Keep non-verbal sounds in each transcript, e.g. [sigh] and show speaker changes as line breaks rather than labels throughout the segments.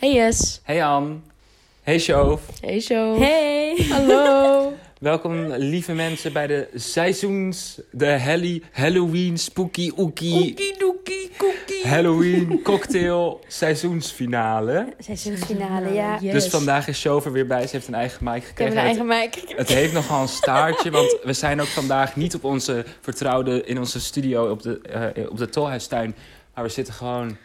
Hey Jess.
Hey Ann. Hey Sjoof.
Hey Show.
[laughs] Hey!
[laughs] Hallo.
Welkom lieve mensen bij de seizoens, de Helly, Halloween, Spooky Ookie,
doekie, koekie.
Halloween Cocktail seizoensfinale.
Seizoensfinale, nou, ja.
Yes.
Dus vandaag is Sjoof er weer bij. Ze heeft een eigen mic
Ik heb
gekregen.
een
Het-
eigen mic.
[laughs] Het heeft nogal een staartje, want we zijn ook vandaag niet op onze vertrouwde, in onze studio op de, eh, op de Tolhuistuin. Maar we zitten gewoon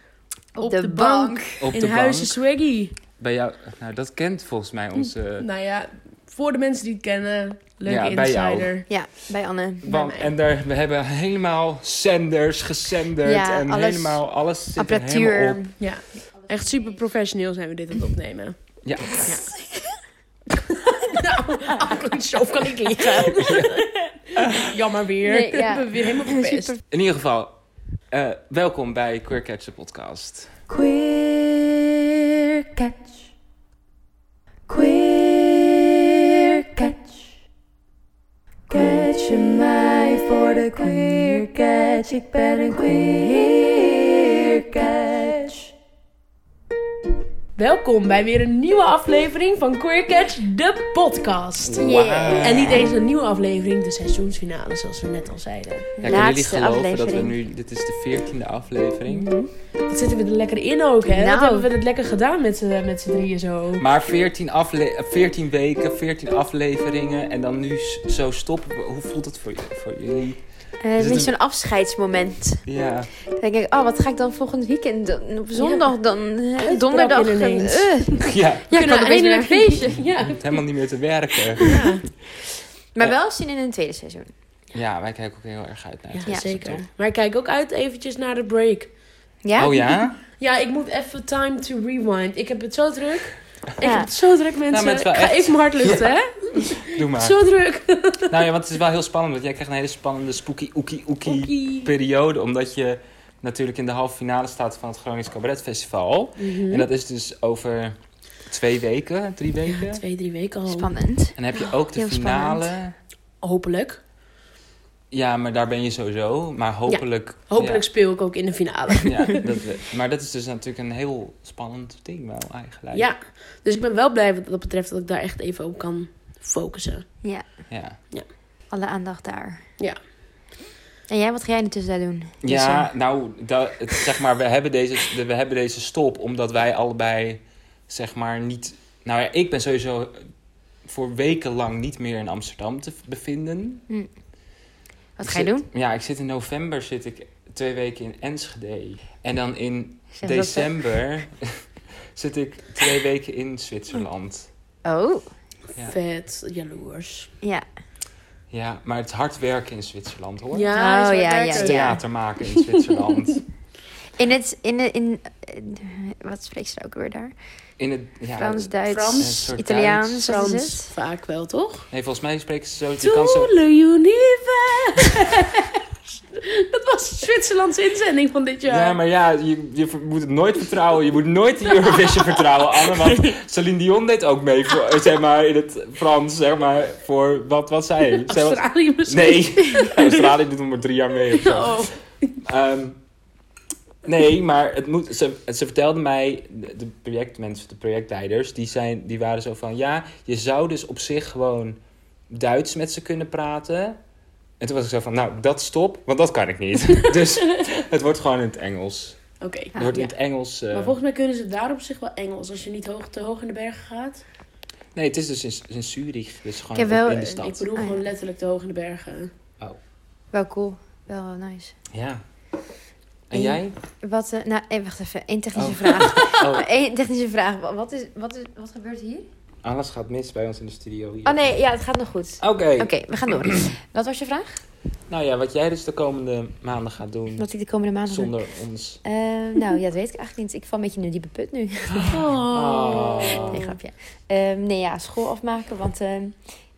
Op de bank.
op de
In
bank.
huizen Swaggy.
Bij jou, nou dat kent volgens mij onze...
Nou ja, voor de mensen die het kennen, leuke
Eh. Ja, bij jou.
insider.
Ja, bij Anne.
Want, en daar, we hebben helemaal zenders gezenderd
Ja,
en
alles-
helemaal alles zit er helemaal
Apparatuur.
op.
Ja, echt super professioneel zijn we dit aan het opnemen.
Ja.
[laughs]
nou, [laughs] zo
[laughs]
kan ik liggen. Jammer weer.
[laughs] Nee, ja.
[laughs] We hebben weer helemaal verpest.
Super.
In ieder geval, eh, welkom bij Queer Catch de podcast.
Queer catch. Queer catch. Catch je mij voor de queer catch. Ik ben een queer catch.
Welkom bij weer een nieuwe aflevering van Queer Catch, de podcast.
Yeah.
En niet eens een nieuwe aflevering, de seizoensfinale, zoals we net al zeiden.
Ja, kunnen jullie
Laatste
geloven dat we
aflevering.
nu... Dit is de veertiende aflevering.
Eh,
Wat zitten we er lekker in ook, hè?
Nou.
Wat hebben we het lekker gedaan met z'n met z'n drieën zo.
Maar 14, afle- eh, 14 weken, 14 afleveringen en dan nu s- zo stoppen. Hoe voelt dat voor, j- voor jullie?
Eh, Het
Is het
is zo'n afscheidsmoment.
Ja. [laughs]
Dan denk ik, oh, wat ga ik dan volgend weekend doen? Op zondag dan? eh,
Uitbraken
donderdag? dan,
ineens.
eh,
ja,
ja,
Kunnen
kan
we
er weer een
eindelijk
feestje.
Ja.
het helemaal niet meer te werken.
Ja,
Maar
Ja.
wel zin in een tweede seizoen.
Ja, wij kijken ook heel erg uit naar het
Ja,
eerste,
zeker.
toch?
Maar ik kijk ook uit eventjes naar de break.
Ja?
Oh ja?
Ja, ik moet even time to rewind. Ik heb het zo druk. Ik
Ja.
heb het zo druk, mensen.
maar het is wel
ik ga
echt-
even mijn hart luchten, hè?
Doe maar.
Zo druk.
Nou ja, want het is wel heel spannend. Want jij krijgt een hele spannende spooky oekie oekie
Oekie.
periode. Omdat je natuurlijk in de halve finale staat van het Gronings Cabaret Festival.
Mhm.
En dat is dus over twee weken, drie weken.
Ja, twee, drie
Oh.
weken al.
Spannend.
En dan heb je ook de
Heel
finale.
Hopelijk.
Ja, maar daar ben je sowieso. Maar hopelijk...
Hopelijk
Ja,
speel ik ook in de finale. [laughs]
ja, dat, we- maar dat is dus natuurlijk een heel spannend ding wel eigenlijk.
Ja, dus ik ben wel blij wat dat betreft dat ik daar echt even op kan focussen.
Ja,
Ja,
alle aandacht daar.
Ja.
En jij, wat ga jij in de tussentijd doen?
ja nou, dat, het- zeg maar, we hebben, deze, de- we hebben deze stop omdat wij allebei, zeg maar, niet... Nou ja, ik ben sowieso voor wekenlang niet meer in Amsterdam te v- bevinden.
Wat
Ik
ga je
zit-
doen?
Ja, ik zit in november zit ik twee weken in Enschede. En dan in
Zeg dat-
december [laughs] zit ik twee weken in Zwitserland.
Oh,
Ja.
Vet, jaloers.
ja.
Ja, maar het is hard werken in Zwitserland hoor.
Oh,
zo
ja,
werkt
ja,
het.
ja.
Theater maken in
[laughs]
Zwitserland.
In het, in, de- in, in- wat spreekt ze ook weer daar?
In het, ja,
Frans, Duits,
Frans,
een soort
Italiaans, wat is
Frans
het?
vaak wel, toch?
nee, volgens mij spreken ze zo... Je
To
kan zo
the universe. [laughs] dat was Zwitserlandse inzending van dit jaar.
Ja, maar ja, je, je ver- moet het nooit vertrouwen. Je moet nooit de
[laughs]
Eurovision vertrouwen, Anne. Want Celine Dion deed ook mee, voor, eh, zeg maar, in het Frans, zeg maar, voor wat was zij? Zij was-
Australië misschien.
Nee, [laughs] Australië doet nog maar drie jaar mee of zo.
[laughs] Oh.
Ehm, nee, maar het moet, ze, ze vertelden mij, de de projectmensen, de projectleiders, die, zijn, die waren zo van... Ja, je zou dus op zich gewoon Duits met ze kunnen praten. En toen was ik zo van, nou, dat stop, want dat kan ik
[laughs]
niet. dus het wordt gewoon in het Engels.
Oké.
Het wordt
Ja.
in het Engels... eh,
Maar volgens mij kunnen ze daar op zich wel Engels als je niet hoog, te hoog in de bergen gaat.
Nee, het is dus in, in Zurich, dus gewoon
Ik heb wel,
in de
eh,
Ik
stad.
bedoel
Ah, ja.
gewoon letterlijk te hoog in de bergen.
Wel cool. Wel nice.
Ja. En
Ja.
jij?
Wat, eh, nou, eh, wacht even. Eén technische
Oh.
vraag.
[laughs] Oh,
[laughs] Eén technische vraag. Wa- Wat, is, wat, is, wat gebeurt hier?
alles gaat mis bij ons in de studio hier.
Oh nee, ja, het gaat nog goed.
Oké.
Oké, we gaan
[clears throat]
door. Wat was je vraag?
Nou ja, wat jij dus de komende maanden gaat doen...
Wat ik de komende maand nog
Zonder ons.
Eh, nou, ja, dat weet ik eigenlijk niet. Ik val een beetje in een diepe put nu.
Oh.
[laughs] Nee, grapje. Ehm, nee, ja, school afmaken. Want ehm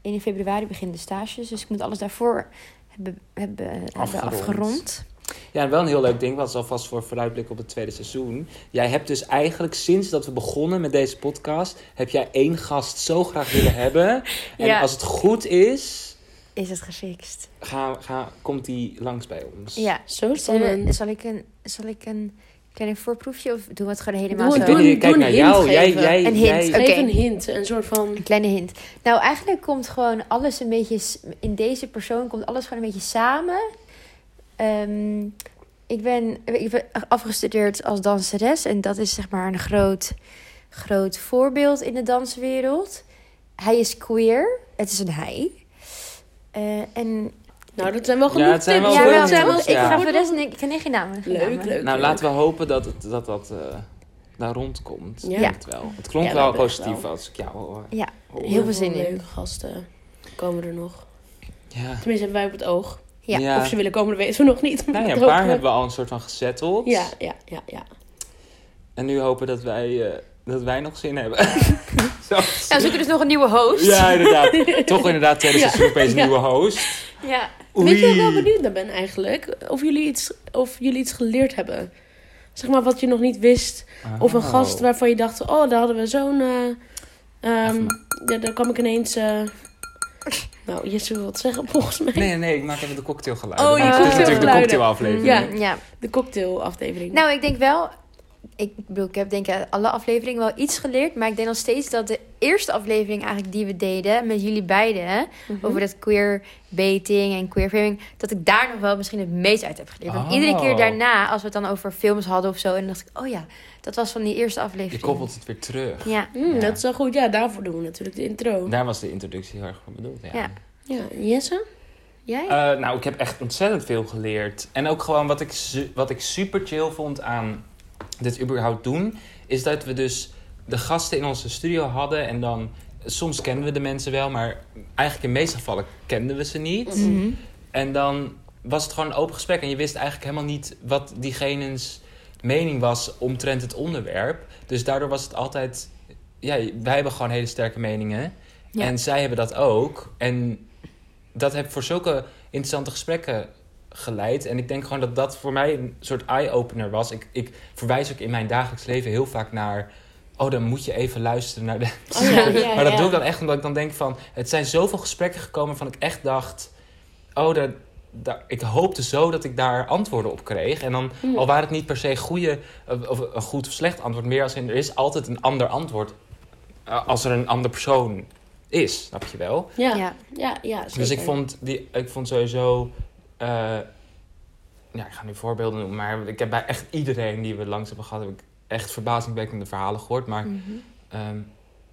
1 februari beginnen de stages. Dus ik moet alles daarvoor hebben, hebben, hebben
Afgerond.
afgerond.
Ja, en wel een heel leuk ding, was alvast voor vooruitblik op het tweede seizoen. Jij hebt dus eigenlijk sinds dat we begonnen met deze podcast, heb jij één gast zo graag willen
[laughs]
hebben. En
Ja.
als het goed is,
Is het gefixt?
ga, ga, komt die langs bij ons.
Ja.
Zo
Zullen we-
spannend.
zal, ik een, zal ik een Klein voorproefje of doen we het gewoon helemaal
Doe,
zo?
doe,
Ik weet niet,
doe
ik kijk
een
naar
hint
jou. Jij,
geven.
jij,
Een hint,
jij,
oké.
Geef een hint, een soort van...
Een kleine hint. Nou, eigenlijk komt gewoon alles een beetje... s- In deze persoon komt alles gewoon een beetje samen. Ehm, ik, ben, ik ben afgestudeerd als danseres. En dat is zeg maar een groot, groot voorbeeld in de danswereld. Hij is queer. Het is een hij. Eh, en
Nou, dat zijn wel genoeg
Ja, het zijn wel
tips.
Ja,
hoor.
wel,
dat zijn wel
tips,
ik
ja.
ga voor de rest nee, ik ga nee, geen namen. geen
Leuk,
namen.
leuk.
Nou, laten we hopen dat het, dat, dat eh, daar rondkomt.
Ja.
Ja. Het, wel. het klonk
Ja,
wel
dat is
positief
wel.
als ik jou hoor.
Ja,
Hoor.
heel veel zin in.
Leuke gasten komen er nog.
Ja.
Tenminste, hebben wij op het oog.
Ja,
Ja.
Of ze willen komen, dat weten we nog [laughs] niet.
Nou ja,
Dat
een paar
hopen we.
hebben we al een soort van gezetteld.
Ja, ja, ja, ja.
En nu hopen dat wij, eh, dat wij nog zin
[laughs]
hebben. Zo.
Nou, we zoeken dus nog een nieuwe host.
Ja, inderdaad. Toch inderdaad, tweede
Ja.
seizoen opeens een
Ja.
nieuwe host.
Ja.
Weet je waar ik wel
Oei.
benieuwd naar ben eigenlijk? Of jullie, iets, of jullie iets geleerd hebben. Zeg maar wat je nog niet wist. Of een
Oh.
gast waarvan je dacht, oh, daar hadden we zo'n... eh, ehm,
Even
ja, daar kwam ik ineens... eh, nou, Jesse wil wat zeggen [laughs] volgens mij.
Nee, nee, nee, ik maak even de cocktailgeluiden.
Oh, ja,
Want het is natuurlijk de
cocktailgeluiden.
cocktailaflevering.
Ja.
ja.
De cocktailafdeling.
Nou, ik denk wel. Ik bedoel, ik heb denk ik uit alle afleveringen wel iets geleerd. Maar ik denk nog steeds dat de eerste aflevering eigenlijk die we deden met jullie beiden. hè,
Mhm.
Over dat queer baiting en queer filming. Dat ik daar nog wel misschien het meest uit heb geleerd. Want iedere keer
Oh.
daarna, als we het dan over films hadden of zo. En dacht ik, oh ja, dat was van die eerste aflevering.
Je koppelt het weer terug.
Ja,
Mm,
Ja.
Dat is wel goed. Ja, daarvoor doen we natuurlijk de intro.
Daar was de introductie heel erg voor bedoeld, ja.
Ja.
Ja, Jesse?
jij?
Eh, nou, ik heb echt ontzettend veel geleerd. En ook gewoon wat ik, su- wat ik super chill vond aan dit überhaupt doen, is dat we dus de gasten in onze studio hadden en dan. Soms kenden we de mensen wel, maar eigenlijk in de meeste gevallen kenden we ze niet.
Mhm.
En dan was het gewoon een open gesprek. En je wist eigenlijk helemaal niet wat diegene's mening was omtrent het onderwerp. Dus daardoor was het altijd... Ja, wij hebben gewoon hele sterke meningen.
Ja.
En zij hebben dat ook. En dat heeft voor zulke interessante gesprekken geleid. En ik denk gewoon dat dat voor mij een soort eye-opener was. Ik, ik verwijs ook in mijn dagelijks leven heel vaak naar... Oh, dan moet je even luisteren naar de... [laughs]
Oh, ja, ja,
maar dat
ja.
doe ik dan echt omdat ik dan denk van... Het zijn zoveel gesprekken gekomen van ik echt dacht... Oh, daar, daar- ik hoopte zo dat ik daar antwoorden op kreeg. En dan,
Hmm.
al waren het niet per se goede, eh, of een goed of slecht antwoord, meer als in er is altijd een ander antwoord eh, als er een ander persoon is, snap je wel?
Ja, ja,
Ja.
ja,
Dus ik
zeker.
vond, die, ik vond sowieso. eh, ja, ik ga nu voorbeelden noemen, maar ik heb bij echt iedereen die we langs hebben gehad, heb ik echt verbazingwekkende verhalen gehoord. Maar
Mhm.
ehm,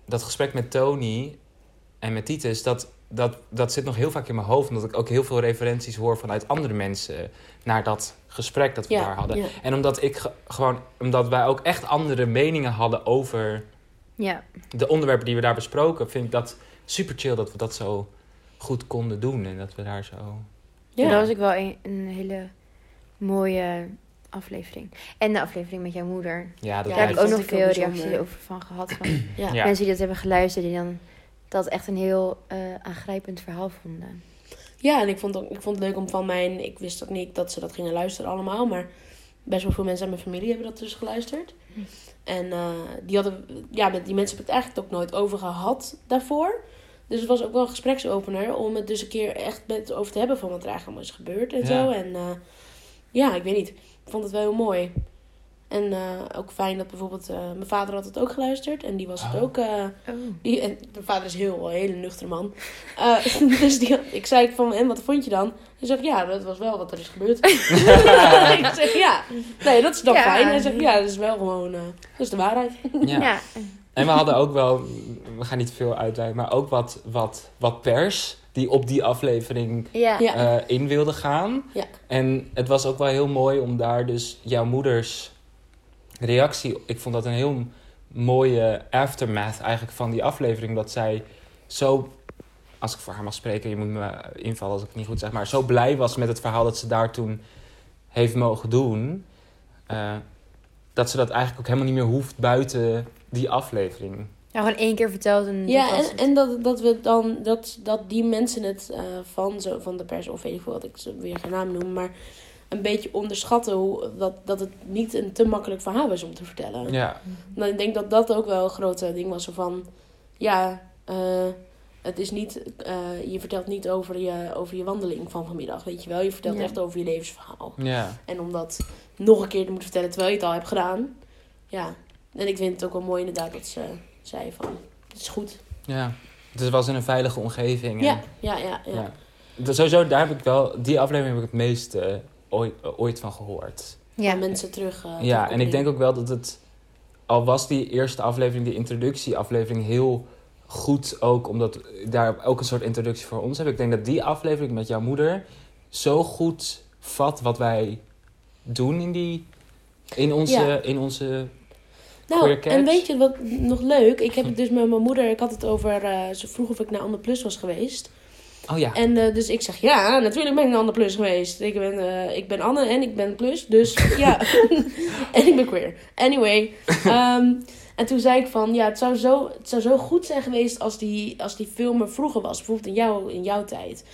dat gesprek met Tony en met Titus, dat, dat, dat zit nog heel vaak in mijn hoofd. Omdat ik ook heel veel referenties hoor vanuit andere mensen naar dat gesprek dat we
ja,
daar hadden.
Ja.
En omdat ik ge- gewoon, omdat wij ook echt andere meningen hadden over
Ja.
de onderwerpen die we daar besproken, vind ik dat super chill dat we dat zo goed konden doen. En dat we daar zo.
Ja.
dat was ook wel een, een hele mooie aflevering. En de aflevering met jouw moeder.
Ja, dat
Daar
Ja,
heb ik
blijft-
ook
vond
nog
ik heel
veel
bijzonder.
reacties over van gehad. Van,
Ja.
Ja.
mensen die dat hebben geluisterd, die dan dat echt een heel eh, aangrijpend verhaal vonden.
Ja, en ik vond, ook, ik vond het leuk om van mijn... Ik wist ook niet dat ze dat gingen luisteren allemaal, maar best wel veel mensen uit mijn familie hebben dat dus geluisterd. En eh, die hadden... Ja, met die mensen heb ik het eigenlijk ook nooit over gehad daarvoor. Dus het was ook wel een gespreksopener om het dus een keer echt met over te hebben van wat er eigenlijk allemaal is gebeurd en
Ja.
zo. En eh, ja, ik weet niet. Ik vond het wel heel mooi. En eh, ook fijn dat bijvoorbeeld eh, mijn vader had het ook geluisterd en die was het
Oh.
ook... eh,
Oh.
die, en mijn vader is heel, een hele nuchter man. Eh, [laughs] dus die, had- ik zei van, en wat vond je dan? Hij zegt, ja, dat was wel wat er is
[laughs]
gebeurd. ik zeg, ja. Nee, dat is dan
Ja.
fijn. Hij zegt, ja, dat is wel gewoon, eh, dat is de waarheid.
Ja.
Ja.
En we hadden ook wel, we gaan niet veel uitweiden, maar ook wat, wat, wat pers die op die aflevering
Ja.
Ja.
eh, in wilde gaan.
Ja.
En het was ook wel heel mooi om daar dus jouw moeders reactie... Ik vond dat een heel mooie aftermath eigenlijk van die aflevering. Dat zij zo, als ik voor haar mag spreken, je moet me invallen als ik het niet goed zeg... maar zo blij was met het verhaal dat ze daar toen heeft mogen doen... eh, dat ze dat eigenlijk ook helemaal niet meer hoeft buiten die aflevering.
Nou, gewoon één keer verteld en dat
Ja,
was
en,
het.
en dat, dat we dan, dat, dat die mensen het eh, van, zo, van de pers, of weet ik veel wat ik ze weer geen naam noem, maar een beetje onderschatten hoe, dat, dat het niet een te makkelijk verhaal is om te vertellen.
Ja,
Nou, ik denk dat dat ook wel een groot eh, ding was. Zo van, ja, eh, Het is niet, eh, je vertelt niet over je, over je wandeling van vanmiddag, weet je wel. Je vertelt
Ja.
echt over je levensverhaal.
Ja.
En om dat nog een keer te moeten vertellen terwijl je het al hebt gedaan. Ja, en ik vind het ook wel mooi inderdaad dat ze zei van, het is goed.
ja. Dus het was in een veilige omgeving. en-
Ja, ja, ja. ja.
ja. Dus sowieso, daar heb ik wel, die aflevering heb ik het meest eh, ooit, ooit van gehoord.
ja.
Ja,
mensen terug. eh,
ja, en ik
terugkoppelen.
denk ook wel dat het, al was die eerste aflevering, die introductieaflevering, heel goed ook, omdat daar ook een soort introductie voor ons heb. Ik denk dat die aflevering met jouw moeder zo goed vat wat wij doen in die, in onze,
Ja.
in onze,
Nou,
Queer Cats.
en weet je wat nog leuk? Ik heb
[laughs]
het dus met mijn moeder, ik had het over, eh, ze vroeg of ik naar Ander Plus was geweest.
oh ja.
En eh, dus ik zeg, ja, natuurlijk ben ik naar Ander Plus geweest. Ik ben, eh, ik ben Anne en ik ben Plus,
[laughs]
dus ja. [laughs] en ik ben queer. Anyway. ehm, en toen zei ik van, ja, het zou zo, het zou zo goed zijn geweest als die, als die film er vroeger was. Bijvoorbeeld in, jou, in jouw tijd.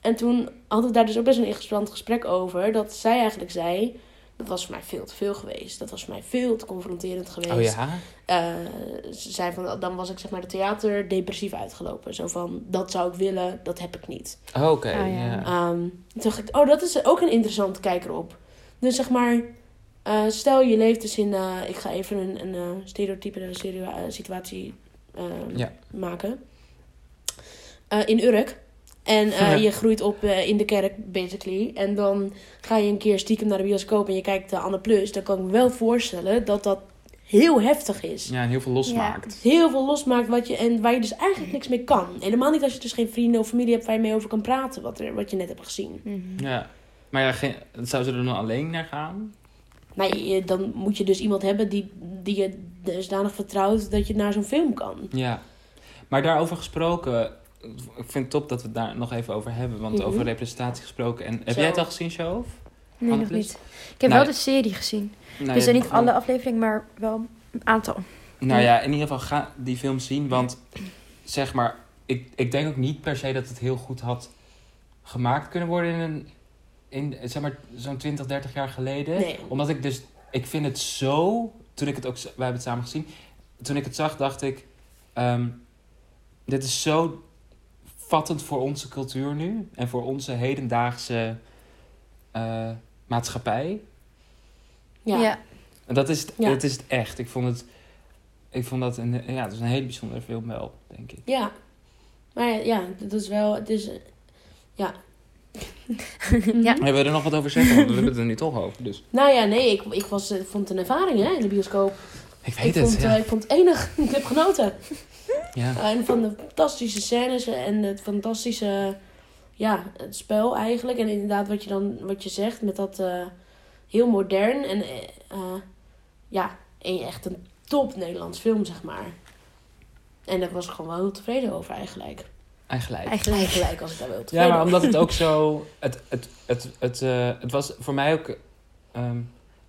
En toen hadden we daar dus ook best een interessant gesprek over. Dat zij eigenlijk zei, dat was voor mij veel te veel geweest. Dat was voor mij veel te confronterend geweest
Oh ja?
eh, ze zei van, dan was ik zeg maar de theater depressief uitgelopen. Zo van, dat zou ik willen, dat heb ik niet.
Oh, Oké,
Oh ja.
ja.
Ehm, toen dacht ik, oh, dat is ook een interessante kijker op. Dus zeg maar, eh, stel je leeft dus in, eh, ik ga even een, een eh, stereotype stereo- eh, situatie ehm,
Ja.
maken. Eh, in Urk. En eh,
Ja.
je groeit op eh, in de kerk, basically. En dan ga je een keer stiekem naar de bioscoop en je kijkt de Anne Plus. Dan kan ik me wel voorstellen dat dat heel heftig is
Ja, en heel veel losmaakt.
heel veel losmaakt wat je, en waar je dus eigenlijk niks mee kan. Helemaal niet als je dus geen vrienden of familie hebt waar je mee over kan praten, wat, er, wat je net hebt gezien.
Mhm.
Ja. Maar ja, geen, zou ze er dan alleen naar gaan?
Nou, je- dan moet je dus iemand hebben die, die je dusdanig vertrouwt dat je naar zo'n film kan.
Ja, maar daarover gesproken, ik vind het top dat we het daar nog even over hebben, want
Mhm.
over representatie gesproken. En heb
Zo.
jij het al gezien, Shove?
Nee, nog
Anders?
niet. Ik heb
Nou,
wel de serie gezien.
Nou,
dus
ja,
dan niet
gewoon-
alle afleveringen, maar wel een aantal.
Nou ja, in ieder geval ga die film zien, want zeg maar, ik, ik denk ook niet per se dat het heel goed had gemaakt kunnen worden in een, in zeg maar, zo'n 20, 30 jaar geleden.
Nee.
Omdat ik dus, ik vind het zo, toen ik het ook, z- wij hebben het samen gezien, toen ik het zag dacht ik, ehm, dit is zo vattend voor onze cultuur nu en voor onze hedendaagse eh, maatschappij.
Ja.
En dat is het,
Ja.
dat is het echt. Ik vond het, ik vond dat een, ja, het was een hele bijzondere film wel, denk ik.
Ja. Maar ja, dat is wel, het is, ja.
Ja.
Hebben we er nog wat over zeggen? Want we hebben het er nu toch over, dus.
Nou ja, nee, ik, ik was, eh, vond het een ervaring hè, in de bioscoop.
Ik weet
Ik
het,
vond,
ja.
eh, ik vond het enig. [laughs] ik heb genoten.
ja.
Uh, En van de fantastische scènes en het fantastische ja, het spel eigenlijk. En inderdaad wat je dan wat je zegt met dat eh, heel modern en eh, eh, ja, een, echt een top Nederlands film, zeg maar. En daar was ik gewoon wel heel tevreden over eigenlijk.
Eigenlijk.
Eigenlijk.
Eigenlijk als ik daar wel tevreden
Ja, maar
over
omdat het ook zo... Het, het, het, het, eh, het was voor mij ook... ehm,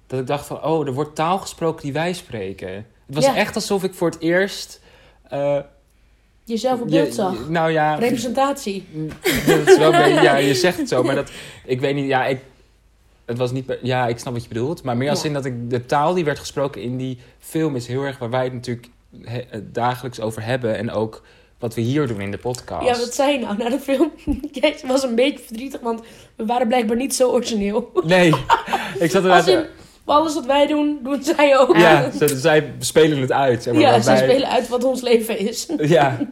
dat ik dacht van, oh, er wordt taal gesproken die wij spreken. Het was
Ja.
echt alsof ik voor het eerst... eh,
jezelf op beeld
je-
zag.
je- nou ja...
Representatie.
Dat is wel een beetje- ja, je zegt het zo, maar dat, ik weet niet, ja, ik, het was niet, per- ja, ik snap wat je bedoelt, maar meer als
Ja.
in dat ik de taal die werd gesproken in die film is heel erg waar wij het natuurlijk he- eh, dagelijks over hebben en ook wat we hier doen in de podcast.
Ja, wat zei je nou na de film? [laughs] Jij was een beetje verdrietig, want we waren blijkbaar niet zo origineel.
Nee, ik zat
Als
eruit.
in, alles wat wij doen, doen zij ook. [laughs]
Ja, ze- zij spelen het uit. Zeg maar,
ja,
maar
zij
wij-
spelen uit wat ons leven is.
[laughs] Ja, [laughs]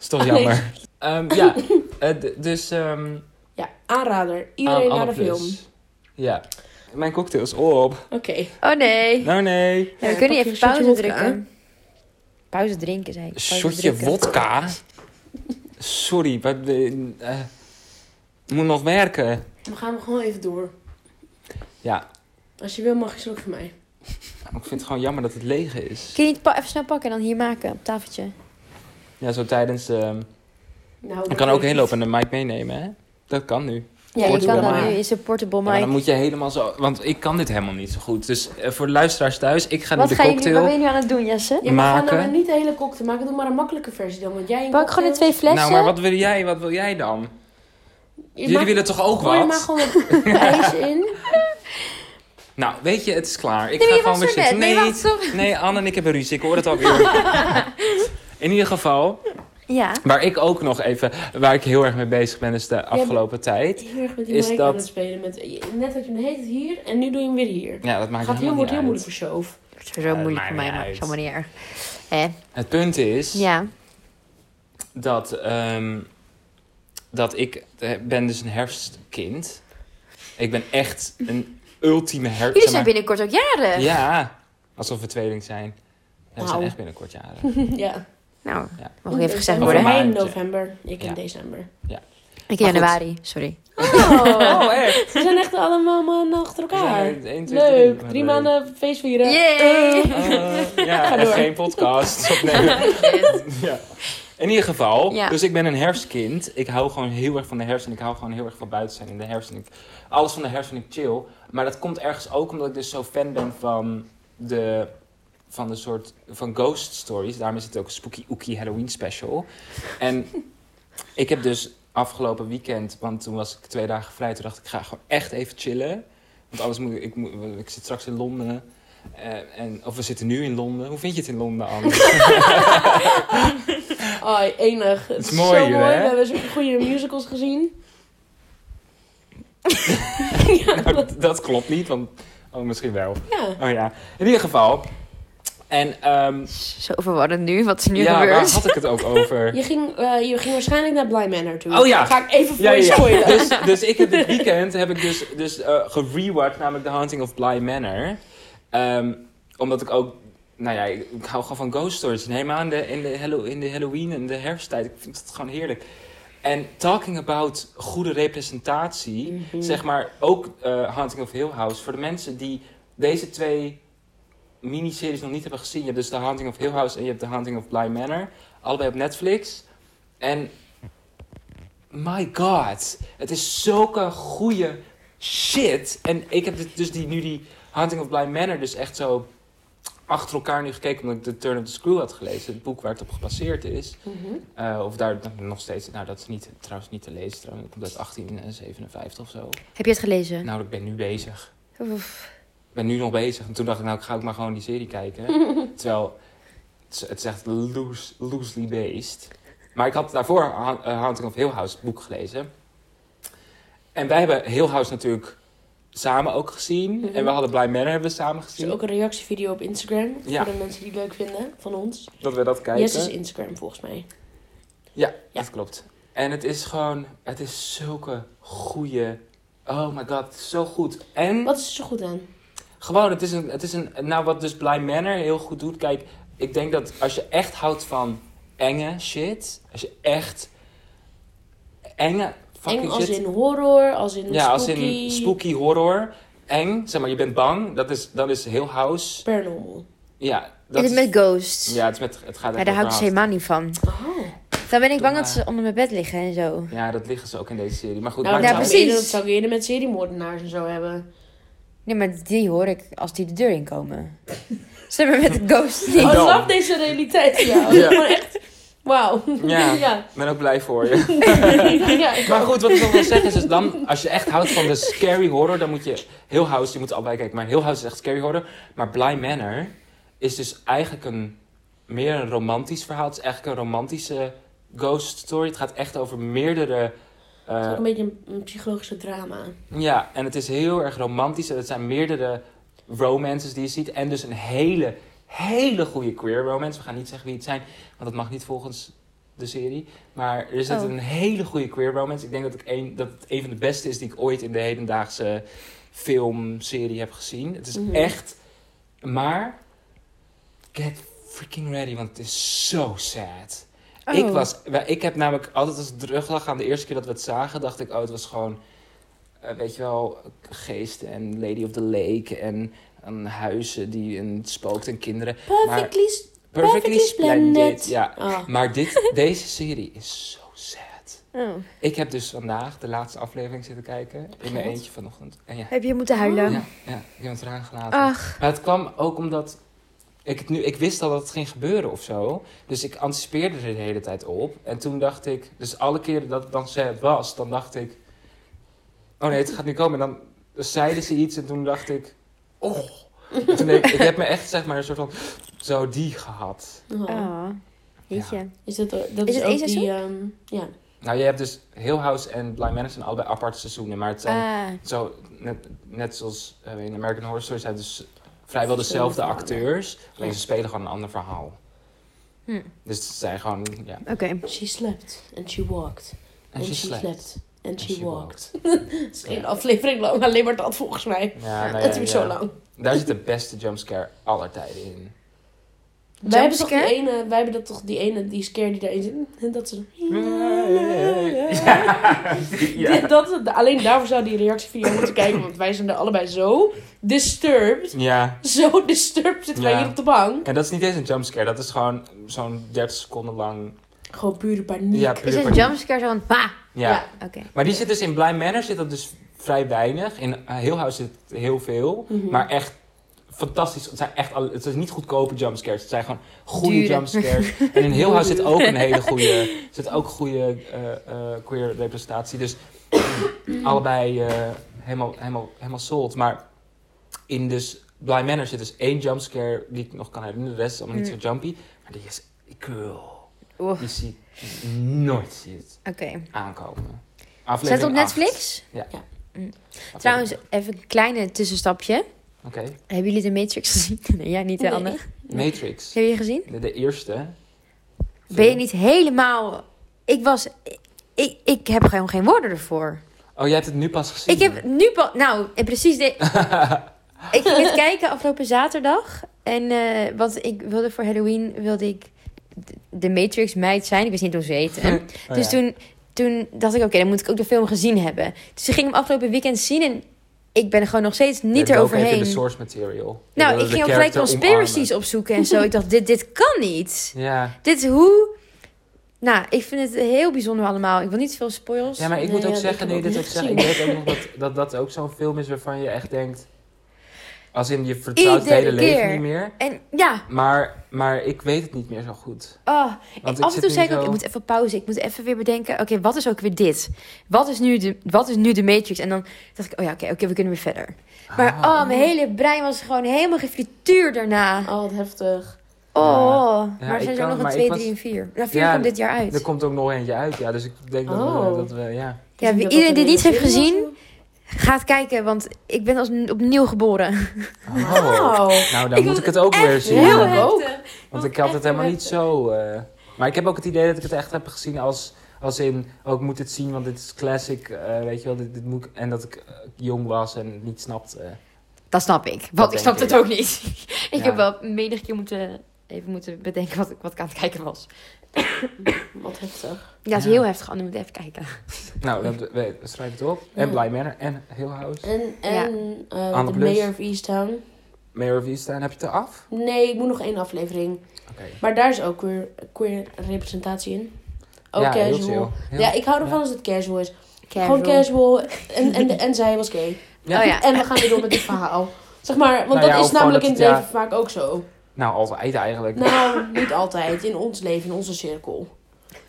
is toch
Alleen.
jammer. Ehm, ja, eh, d- dus ehm,
Ja, aanrader.
aan
Iedereen naar
Anne
de
Plus.
film.
Ja. Mijn cocktail is op.
Oké.
Oh nee.
Nou nee.
Nou, we
pak je
kunnen niet
een
even pauze
shotje wodka
drukken. Pauze drinken, zei ik.
Een
Pauze
shotje
drinken.
wodka? Sorry, maar... eh, eh, moet nog werken.
We gaan gewoon even door.
Ja,
Als je wil, mag je ze ook van mij.
Nou, ik vind het gewoon jammer dat het leeg is.
Kun je niet pa- even snel pakken en dan hier maken op het tafeltje?
Ja, zo tijdens... ehm
Nou,
ik kan ook heen lopen en de mic meenemen, hè? Dat kan nu.
Ja, je kan
Portable
dan
mic.
nu is een portable
Ja, maar dan
mic.
moet je helemaal zo... Want ik kan dit helemaal niet zo goed. Dus eh, voor de luisteraars thuis, ik ga nu
Wat,
de
ga je nu,
cocktail...
wat ben je nu aan het doen, Jesse?
Ja, maar ga
maken.
nou maar niet de hele cocktail maken. Doe maar een makkelijke versie dan. Want jij een
Pak gewoon de twee flessen.
nou, maar wat wil jij? Wat wil jij dan? Jullie willen toch ook
Oh,
Gooi er maar
wat?
gewoon wat
[laughs]
ijs in.
Nou, weet je, het is klaar. Ik
Nee,
ga
maar je
gewoon
was
weer
er net.
zitten.
Nee,
Nee,
wacht, stop. [laughs]
nee, Anne en ik hebben ruzie. Ik hoor het alweer. In ieder geval,
Ja.
Waar ik ook nog even, waar ik heel erg mee bezig ben, is de afgelopen tijd.
Heel erg met die
Is
mic
dat-
aan het spelen. Met, je- net had je hem de hele tijd hier en nu doe je hem weer hier.
Ja, dat maakt
Gaat heel,
helemaal niet
wordt heel
uit.
moeilijk voor Shove.
Het is sowieso
Ja,
moeilijk
maakt
voor mij,
niet
maar
uit.
is allemaal niet erg. Hè?
Het punt is
Ja.
dat, ehm, dat ik eh, ben dus een herfstkind. Ik ben echt een ultieme herfst.
Jullie zijn binnenkort ook jaren.
Ja, alsof we tweeling zijn. Ja, we zijn
Nou.
echt binnenkort jaren.
[laughs] ja.
Nou,
Ja.
mag ik even gezegd
Over
worden?
Voor mij in
maandje.
november, ik in
Ja.
december.
Ik in
Maar goed.
januari, sorry.
[laughs]
Oh,
echt?
ze zijn echt allemaal maanden achter elkaar.
We zijn er één, twee, drie.
Leuk,
Wat
drie
leuk.
maanden
[laughs]
feestvieren.
Yay!
Eh,
Eh, ja,
Ga
en
door.
geen podcast.
[laughs]
opnemen. ja. In ieder geval,
Ja.
dus ik ben een herfstkind. Ik hou gewoon heel erg van de herfst en ik hou gewoon heel erg van buiten zijn in de herfst. En ik, alles van de herfst vind ik chill. Maar dat komt ergens ook omdat ik dus zo fan ben van de, van de soort van ghost stories. Daarom is het ook een spooky ookie Halloween special. En [laughs] ik heb dus afgelopen weekend, want toen was ik twee dagen vrij, toen dacht ik, ik ga gewoon echt even chillen. Want anders moet ik, ik, moet, ik zit straks in Londen. eh, en, of we zitten nu in Londen. Hoe vind je het in Londen, Anne?
Oh, enig. Het
is
is,
mooi
zo
hier,
mooi.
hè?
We hebben zulke goede musicals gezien.
Nou, dat, [laughs] dat klopt niet, want... Oh, misschien wel.
Ja.
Oh ja, in ieder geval. En ehm
Zo verwarrend nu, wat er nu
ja, waar
gebeurt.
had ik het ook
[laughs]
over?
Je ging, eh, je ging waarschijnlijk naar Blind Manor toe.
Oh ja.
Ga ik even voor
Ja,
je
ja, ja.
spoilen.
Dus, dus ik heb dit weekend heb ik dus, dus eh gerewatcht, namelijk The Haunting of Bly Manor. Ehm, omdat ik ook, nou ja, ik, ik hou gewoon van ghost stories. En helemaal in de, in, de Hallo- in de Halloween en de herfsttijd. Ik vind het gewoon heerlijk. En talking about goede representatie,
Mhm.
zeg maar ook eh Haunting of Hill House. Voor de mensen die deze twee miniseries nog niet hebben gezien. Je hebt dus The Haunting of Hill House en je hebt The Haunting of Bly Manor. Allebei op Netflix. En my god, het is zulke goede shit. En ik heb dit- dus die, nu die Haunting of Bly Manor dus echt zo achter elkaar nu gekeken. Omdat ik The Turn of the Screw had gelezen. Het boek waar het op gebaseerd is.
Mhm.
Eh, of daar nog steeds... Nou, dat is niet, trouwens niet te lezen. Trouwens, dat komt uit 1857 of zo.
Heb je het gelezen?
Nou, ik ben nu bezig
Oef.
ik ben nu nog bezig. En toen dacht ik, nou, ik ga ook maar gewoon die serie
[laughs]
kijken. Terwijl, het is, het is echt loose, loosely based. Maar ik had daarvoor Ha- eh, Haunting of Hill House het boek gelezen. En wij hebben Hill House natuurlijk samen ook gezien.
Mhm.
En we hadden Bly Manor hebben we samen
Er is
gezien.
ook een reactievideo op Instagram.
Ja.
Voor de mensen die het leuk vinden van ons.
Dat we dat kijken.
Yes is Instagram volgens mij.
Ja,
Ja.
dat klopt. En het is gewoon, het is zulke goede. Oh my god, het is zo goed. En
Wat is er zo goed aan?
Gewoon, het is, een, het is een. Nou, wat dus Bly Manor heel goed doet. Kijk, ik denk dat als je echt houdt van enge shit. Als je echt. enge fucking
Eng als
shit.
in horror, als in
ja, als
spooky,
in spooky horror. Eng, zeg maar, je bent bang. Dat is, dat is heel house.
paranormal.
Ja,
Is
dat
het met ghosts?
Ja, het, is met, het gaat
Ja,
echt
daar hou ik dus
over house.
helemaal niet van.
Oh.
Dan ben ik
Doe
bang
maar.
dat ze onder mijn bed liggen en zo.
Ja, dat liggen ze ook in deze serie. Maar goed,
Nou,
maakt
dat
ja,
niet
zou ik
uit.
precies.
eerder- dat zou ik eerder met seriemoordenaars en zo hebben.
Nee, maar die hoor ik als die de deur inkomen. [laughs] Ze hebben met de ghost niet.
Oh,
dan.
snap deze realiteit. Ja,
[laughs] Ja.
[laughs] Maar echt, wauw.
[laughs] Ja.
[laughs] ja.
Ik ben ook blij voor je.
Ja, ik
Maar
ook.
goed, wat ik nog wil zeggen is, dus dan, als je echt houdt van de scary horror, dan moet je heel house, je moet allebei kijken, maar heel house is echt scary horror. Maar Bly Manor is dus eigenlijk een meer een romantisch verhaal. Het is eigenlijk een romantische ghost story. Het gaat echt over meerdere. eh,
Het is ook een beetje een, een psychologische drama.
ja, en het is heel erg romantisch. En het zijn meerdere romances die je ziet. En dus een hele, hele goede queer romance. We gaan niet zeggen wie het zijn, want dat mag niet volgens de serie. Maar er zit
Oh.
een hele goede queer romance. Ik denk dat, ik een, dat het een van de beste is die ik ooit in de hedendaagse filmserie heb gezien. Het is
Mhm.
echt... Maar... Get freaking ready, want het is zo sad.
Oh.
Ik, was, wij- ik heb namelijk altijd als ik terug lag aan de eerste keer dat we het zagen, dacht ik, oh, het was gewoon, eh, weet je wel, geesten en Lady of the Lake en, en huizen die en spookt en kinderen.
Perfectly, perfectly splendid.
Ja,
Ah.
maar dit, deze serie is zo sad.
Oh.
Ik heb dus vandaag de laatste aflevering zitten kijken in mijn
God.
eentje vanochtend. En ja,
Heb je moeten huilen?
ja, ja, ik heb het eraan gelaten.
Ach,
Maar het kwam ook omdat ik, het nu, ik wist al dat het ging gebeuren of zo. Dus ik anticipeerde er de hele tijd op. En toen dacht ik, dus alle keren dat het dan sad was, dan dacht ik... Oh nee, het gaat nu komen. En dan zeiden ze iets en toen dacht ik... Oh. En toen heb ik, ik heb me echt zeg maar een soort van... Zo die gehad.
Oh.
oh. Jeetje.
Is dit, dat
Is
is,
het
ook
één
die, ehm, ja.
Nou, je hebt dus Hill House en Blind Manor zijn allebei aparte seizoenen. Maar het zijn
Ah,
Eh.
zo, net, net zoals eh, in American Horror Story zijn het dus vrijwel
Ze
dezelfde
verhalen.
acteurs. Alleen
Ja.
ze spelen gewoon een ander verhaal.
Hm.
Dus het zijn gewoon,
Eh,
ja.
oké.
She slept and she walked.
En ze slecht.
and she,
she
walked.
walked.
[laughs] Het is één aflevering lang, alleen maar dat volgens mij.
Ja, nou ja,
het duurt
ja.
zo lang.
Daar zit de beste jumpscare aller tijden in.
Wij hebben, toch die
Jumpscare?
ene, wij hebben dat toch die ene, die scare die daarin zit. En dat ze... [laughs]
Ja. Ja.
Dat, alleen daarvoor zou die reactievideo moeten kijken. Want wij zijn er allebei zo disturbed.
[laughs] Ja.
Zo disturbed zitten wij
Ja.
hier op de bank.
En dat is niet eens een jumpscare. Dat is gewoon zo'n 30 seconden lang.
Gewoon pure paniek.
Ja,
Is
puur
Dus een
paniek.
jumpscare zo'n ha?
Ja.
Ja.
Oké.
Maar die zit dus in Blind Manor zit dat dus vrij weinig. In Heel House zit heel veel.
Mhm.
Maar echt fantastisch. Het zijn echt alle, het zijn niet goedkope jumpscares. Het zijn gewoon goede
Dure.
jumpscares. En in Heel House zit ook een
[laughs]
hele goede, zit ook goede eh, eh, queer representatie. Dus [clears throat] allebei eh, helemaal, helemaal, helemaal sold. Maar in dus Blind Manor zit dus één jumpscare die ik nog kan herinneren. De rest is allemaal niet zo
Mm.
jumpy. Maar die is cool.
Oeh,
Die zie ik nooit zie je het
Oké.
aankomen.
Staat het op
Aflevering acht.
Netflix?
Aflevering
Trouwens, even een kleine tussenstapje.
Oké,
Hebben jullie de Matrix [laughs] gezien? Nee, jij niet, hè,
Nee.
Anne?
Matrix.
Heb je gezien?
De, de eerste.
Ben je niet helemaal... Ik was... Ik, ik heb gewoon geen woorden ervoor.
Oh, jij hebt het nu pas gezien.
Ik heb nu pas... Nou, en precies... De...
[laughs]
ik ging het kijken afgelopen zaterdag. En eh, want ik wilde voor Halloween... wilde ik de- de Matrix meid zijn. Ik wist niet hoe ze heette.
Oh,
dus
ja.
toen, toen dacht ik... Oké, dan moet ik ook de film gezien hebben. Dus ik ging hem afgelopen weekend zien. En ik ben er gewoon nog steeds
Je
niet
hebt ook
eroverheen.
even de source material. Je
Nou,
wilde
ik
de
ging ook gelijk
character
conspiracies opzoeken en zo. ik dacht, dit, dit kan niet.
omarmen. Ja.
Dit hoe... Nou, ik vind het heel bijzonder allemaal. Ik wil niet te veel spoils.
ja, maar ik
Nee,
moet ook
ja, ik
zeggen,
heb
nee,
ook
dit
niet
ook zeggen, ik weet ook nog dat dat, dat ook zo'n film is waarvan je echt denkt... Als in, je vertrouwt het
Iedere
hele leven
keer.
niet meer.
En ja,
Maar, maar ik weet het niet meer zo goed.
oh.
Want ik
af en
zit
toe
nu
zei ik ook,
zo-
ik moet even pauze. Ik moet even weer bedenken, oké, wat is ook weer dit? Wat is, nu de, wat is nu de Matrix? En dan dacht ik, oh ja, oké, oké, we kunnen weer verder. Maar
Ah.
oh, mijn hele brein was gewoon helemaal gefrituurd daarna. Oh,
Oh, wat heftig.
Ja,
maar er
ik
zijn
kan-
er nog een
maar ik
2,
was-
3 en 4. Nou, 4
Ja,
komt dit jaar uit.
Er komt ook nog eentje uit, ja. Dus ik denk dat, we,
Oh.
dat we, ja.
Ja, wie-
Dat
iedereen
dat
die niet
een
heeft
serie was,
gezien, gaat kijken, want ik ben als opnieuw geboren.
Oh.
Wow.
Nou, dan
Ik
moet
was
ik het ook weer zien.
heel
Ja.
erg. ook.
Want ik had het helemaal niet zo. eh, maar ik heb ook het idee dat ik het echt heb gezien als, als in, oh ik moet dit zien, want dit is classic, eh, weet je wel, dit, dit moet ik- en dat ik eh, jong was en het niet eh. snapte.
[laughs] Dat snap ik, want
Dat
ik
denk
snapte
ik.
het ook niet. [laughs] ik
Ja.
heb wel menig keer moeten, even moeten bedenken wat, ik- wat ik aan het kijken was.
Wat heftig.
Ja, het is
Ja.
heel heftig, Anne, moet even kijken.
Nou, dat, we, schrijf het op. En Bly Manor en Hill House.
En, en eh,
Anne
de
Plus.
mayor of Easttown.
Mayor of Easttown, heb je het eraf?
Nee, ik moet nog één aflevering.
Oké.
Maar daar is ook weer queer representatie in. Ook
ja, heel
casual.
chill. Heel-
Ja, ik hou ervan
ja.
als het casual is.
Casual.
Gewoon casual. En, en, en zij was gay.
Ja.
Oh ja.
En we gaan weer door met dit verhaal. Zeg maar, want
Nou
dat
ja,
is
of gewoon
namelijk in het
dat het-
leven vaak ook zo.
Nou, altijd eigenlijk.
Nou, niet altijd. In ons leven, in onze cirkel.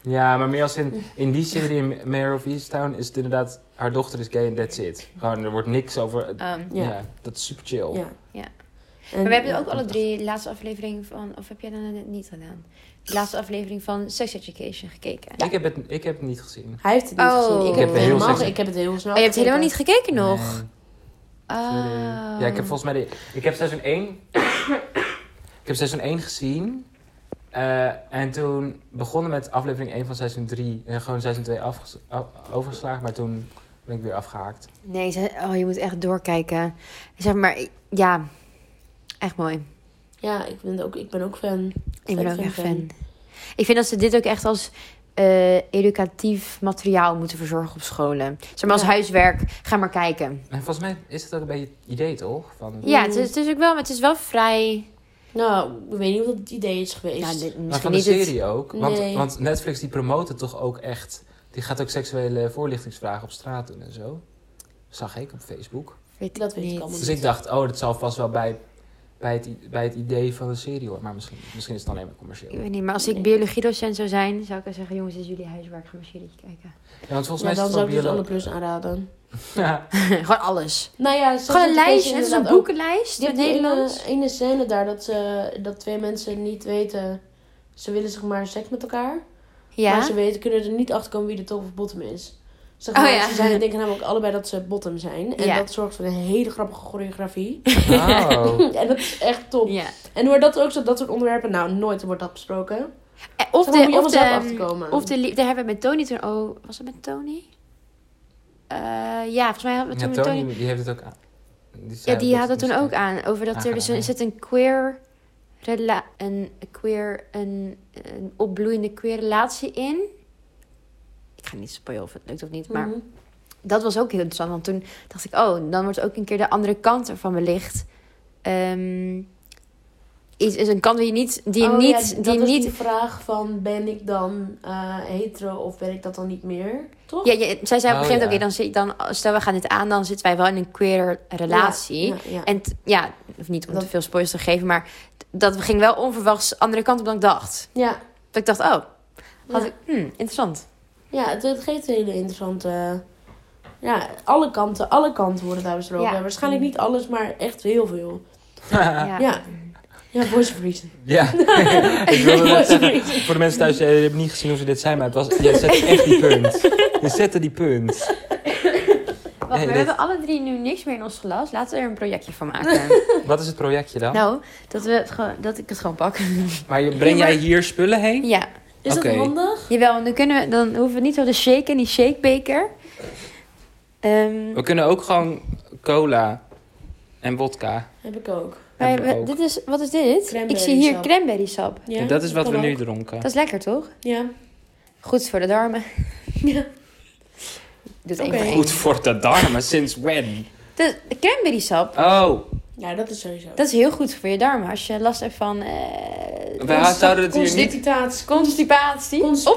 Ja, maar meer als in, in die serie in Mayor of Easttown is het inderdaad, haar dochter is gay en that's it. Gewoon, er wordt niks over,
Ehm,
Ja.
ja, dat is super chill.
Ja.
Ja.
En-
maar we hebben ook alle drie de laatste aflevering van, of heb jij dat net niet gedaan? De laatste aflevering van Sex Education gekeken.
Ik, heb het, ik heb het niet gezien.
Hij heeft het niet
Oh.
gezien. Ik
Ik
heb
heb
het
heel
helemaal,
slecht-
ik heb het heel snel
Oh, je hebt helemaal niet
gekeken.
gekeken nog?
Nee.
Ah.
Ja, ik heb volgens mij... De, ik heb seizoen 1... [coughs] ik heb seizoen 1 gezien. eh, en toen begonnen met aflevering 1 van seizoen 3. En gewoon seizoen 2 afges- o- overgeslagen. Maar toen ben ik weer afgehaakt.
Nee, ze- oh, je moet echt doorkijken. Zeg maar, ik- ja, echt mooi.
Ja, ik ben ook, ik ben ook fan.
Ik
Fan,
ben ook
fan,
echt
fan.
fan. Ik vind dat ze dit ook echt als eh, educatief materiaal moeten verzorgen op scholen. Zeg maar als
Ja.
huiswerk, ga maar kijken.
En volgens mij is het ook een beetje het idee, toch? Van,
Ja, het is, het is ook wel, maar het is wel vrij.
Nou, ik weet niet of dat het idee is
Ja,
geweest.
dit-
maar
misschien
van de
niet het.
serie ook. Want,
Nee.
want Netflix die promoot het toch ook echt... Die gaat ook seksuele voorlichtingsvragen op straat doen en zo. Zag ik op Facebook.
Weet
Dat weet ik
niet.
allemaal
Dus ik dacht, oh, dat zal vast wel bij, bij, het, i- bij het idee van de serie hoor. Maar misschien, misschien is het alleen maar commercieel.
Ik weet niet, maar als ik
Nee.
biologiedocent zou zijn, zou ik wel zeggen: jongens, dit is jullie huiswerk, ga maar een serietje
[laughs]
kijken.
Ja, want volgens
Ja,
mij
dan
is
zou
het
ik dus
wel
alle
biolo-
plus aanraden.
Ja.
Gewoon alles.
Nou ja,
Gewoon een lijstje, net als een boekenlijst
Je
in het
hebt die
Nederlands.
ene, ene scène daar dat, ze, dat twee mensen niet weten. Ze willen zeg maar seks met elkaar. Maar
Ja?
ze weten, kunnen er niet achter komen wie de top of bottom is. Zeg
Oh
maar,
ja.
Ze zijn, denken namelijk allebei dat ze bottom zijn. En
Ja.
dat zorgt voor een hele grappige
[laughs]
choreografie.
Oh.
en dat is echt top.
ja.
En door dat ook zo, dat soort onderwerpen, nou nooit wordt dat besproken.
Eh, Of
Zeg maar,
de,
moet
of
je allemaal zelf achter
de,
komen.
of de liefde hebben we met Tony toen... Oh, was het met Tony? Eh, ja, volgens mij hadden we
Ja,
toen met Tony...
Tony, die heeft het ook aan. Die
Ja,
zei
die
dat
had het
het
toen ook aan. Over dat er dus een,
Aangenaam.
zit een queer... Rela een queer... Een, een opbloeiende queer relatie in. Ik ga niet spoilen of het lukt of niet, maar...
Mhm.
dat was ook heel interessant. Want toen dacht ik, oh, dan wordt ook een keer de andere kant ervan belicht. Ehm, is, is een kant die je niet. Die je
Oh ja,
niet,
dat
die je
was
niet
die vraag van ben ik dan eh, hetero of ben ik dat dan niet meer? Toch?
ja, je- zij zei op een
Oh,
gegeven moment,
ja.
oké, dan zit dan, stel we gaan dit aan, dan zitten wij wel in een queer relatie.
Ja, ja.
En t- ja, of niet om
Dat-
te veel spoilers te geven, maar t- dat ging wel onverwachts andere kant op dan ik dacht.
ja,
Dat ik dacht, oh, had
Ja.
ik, hmm, interessant.
ja het, het geeft een hele interessante... Ja, alle kanten, alle kanten worden daar besproken.
Ja.
Waarschijnlijk niet alles, maar echt heel veel.
Ja.
Ja.
Ja, ja voice of reason.
Ja. [laughs]
[laughs]
ik wilde net zeggen, voor de mensen thuis, die hebben niet gezien hoe ze dit zijn, maar het was, je zette echt die punt. Je zette die punt.
Wacht,
Nee,
we
dit-
hebben alle drie nu niks meer in ons glas. Laten we er een projectje van maken. [laughs]
Wat is het projectje dan?
Nou, dat, we het gewoon, dat ik het gewoon pak.
Maar je- breng jij hier spullen heen?
[laughs] ja.
Is
Oké.
dat handig?
Jawel, want dan, kunnen we, dan hoeven we niet zo te shaken in die shakebeker. Ehm
We kunnen ook gewoon cola en vodka.
Heb ik ook.
maar
hebben we
we-
ook.
dit is, wat is dit? Ik
Cranberry
zie hier
sap.
cranberry sap.
Ja,
en dat is wat
kan
we nu
ook.
dronken.
Dat is lekker, toch?
Ja.
Goed voor de [laughs] darmen.
Ja.
Doet
Oké.
één voor
Goed
één.
voor de darmen, sinds when?
De cranberry sap,
Oh,
ja, dat is sowieso.
dat is heel goed voor je darmen. Als je last hebt van... eh
we zouden het hier niet,
Constipatie.
constipatie?
Constipa-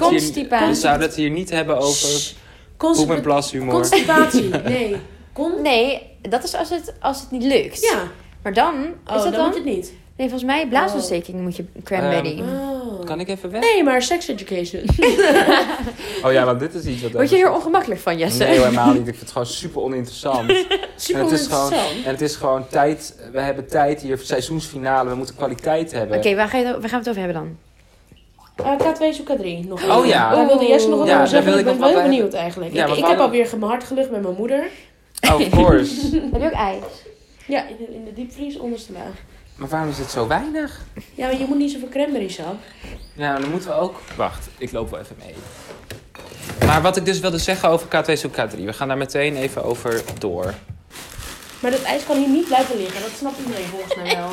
Obstipa-
zouden het hier, we
constipatie.
zouden het hier niet hebben over
Shh.
poep en
Constipa-
plashumor.
Constipatie.
[laughs]
Nee. Con
Nee, dat is als het, als het niet lukt.
ja.
Maar dan, is
Oh,
dat
dan
dan?
moet je het niet.
Nee, volgens mij blaasontsteking moet je cranberry.
Oh.
[laughs]
Ehm, [laughs]
Oh.
Kan ik even weg?
Nee, maar sex education. [laughs]
Oh ja, want dit is iets wat...
Word je hier ongemakkelijk van, Jesse?
Nee, hoor, helemaal niet. Ik vind het gewoon super
[laughs]
oninteressant.
Super
En het is
interessant.
gewoon- En het is gewoon tijd. We hebben tijd hier voor seizoensfinale. We moeten kwaliteit hebben.
Oké, waar, ga je het- waar gaan we het over hebben dan?
Eh, K2 zoek K3 nog.
Oh ja.
Daar wilde Jesse nog wat
Ja, daar
over zeggen.
wil
Ik
ik
ben
nog
wel heel
wat bij-
benieuwd eigenlijk.
Ja,
ik
maar
ik
waarom-
heb alweer ge- mijn hart gelucht met mijn moeder.
Oh, Of
[laughs]
course.
Heb je ook ei?
Ja, in de, in de diepvries onderste laag.
maar waarom is het zo weinig?
Ja, maar je moet niet zoveel cranberry sap.
Nou, dan moeten we ook. Wacht, ik loop wel even mee. Maar wat ik dus wilde zeggen over K2 zoek K3. We gaan daar meteen even over door.
Maar dat ijs kan hier niet blijven liggen. Dat snapt iedereen volgens mij
[laughs]
wel.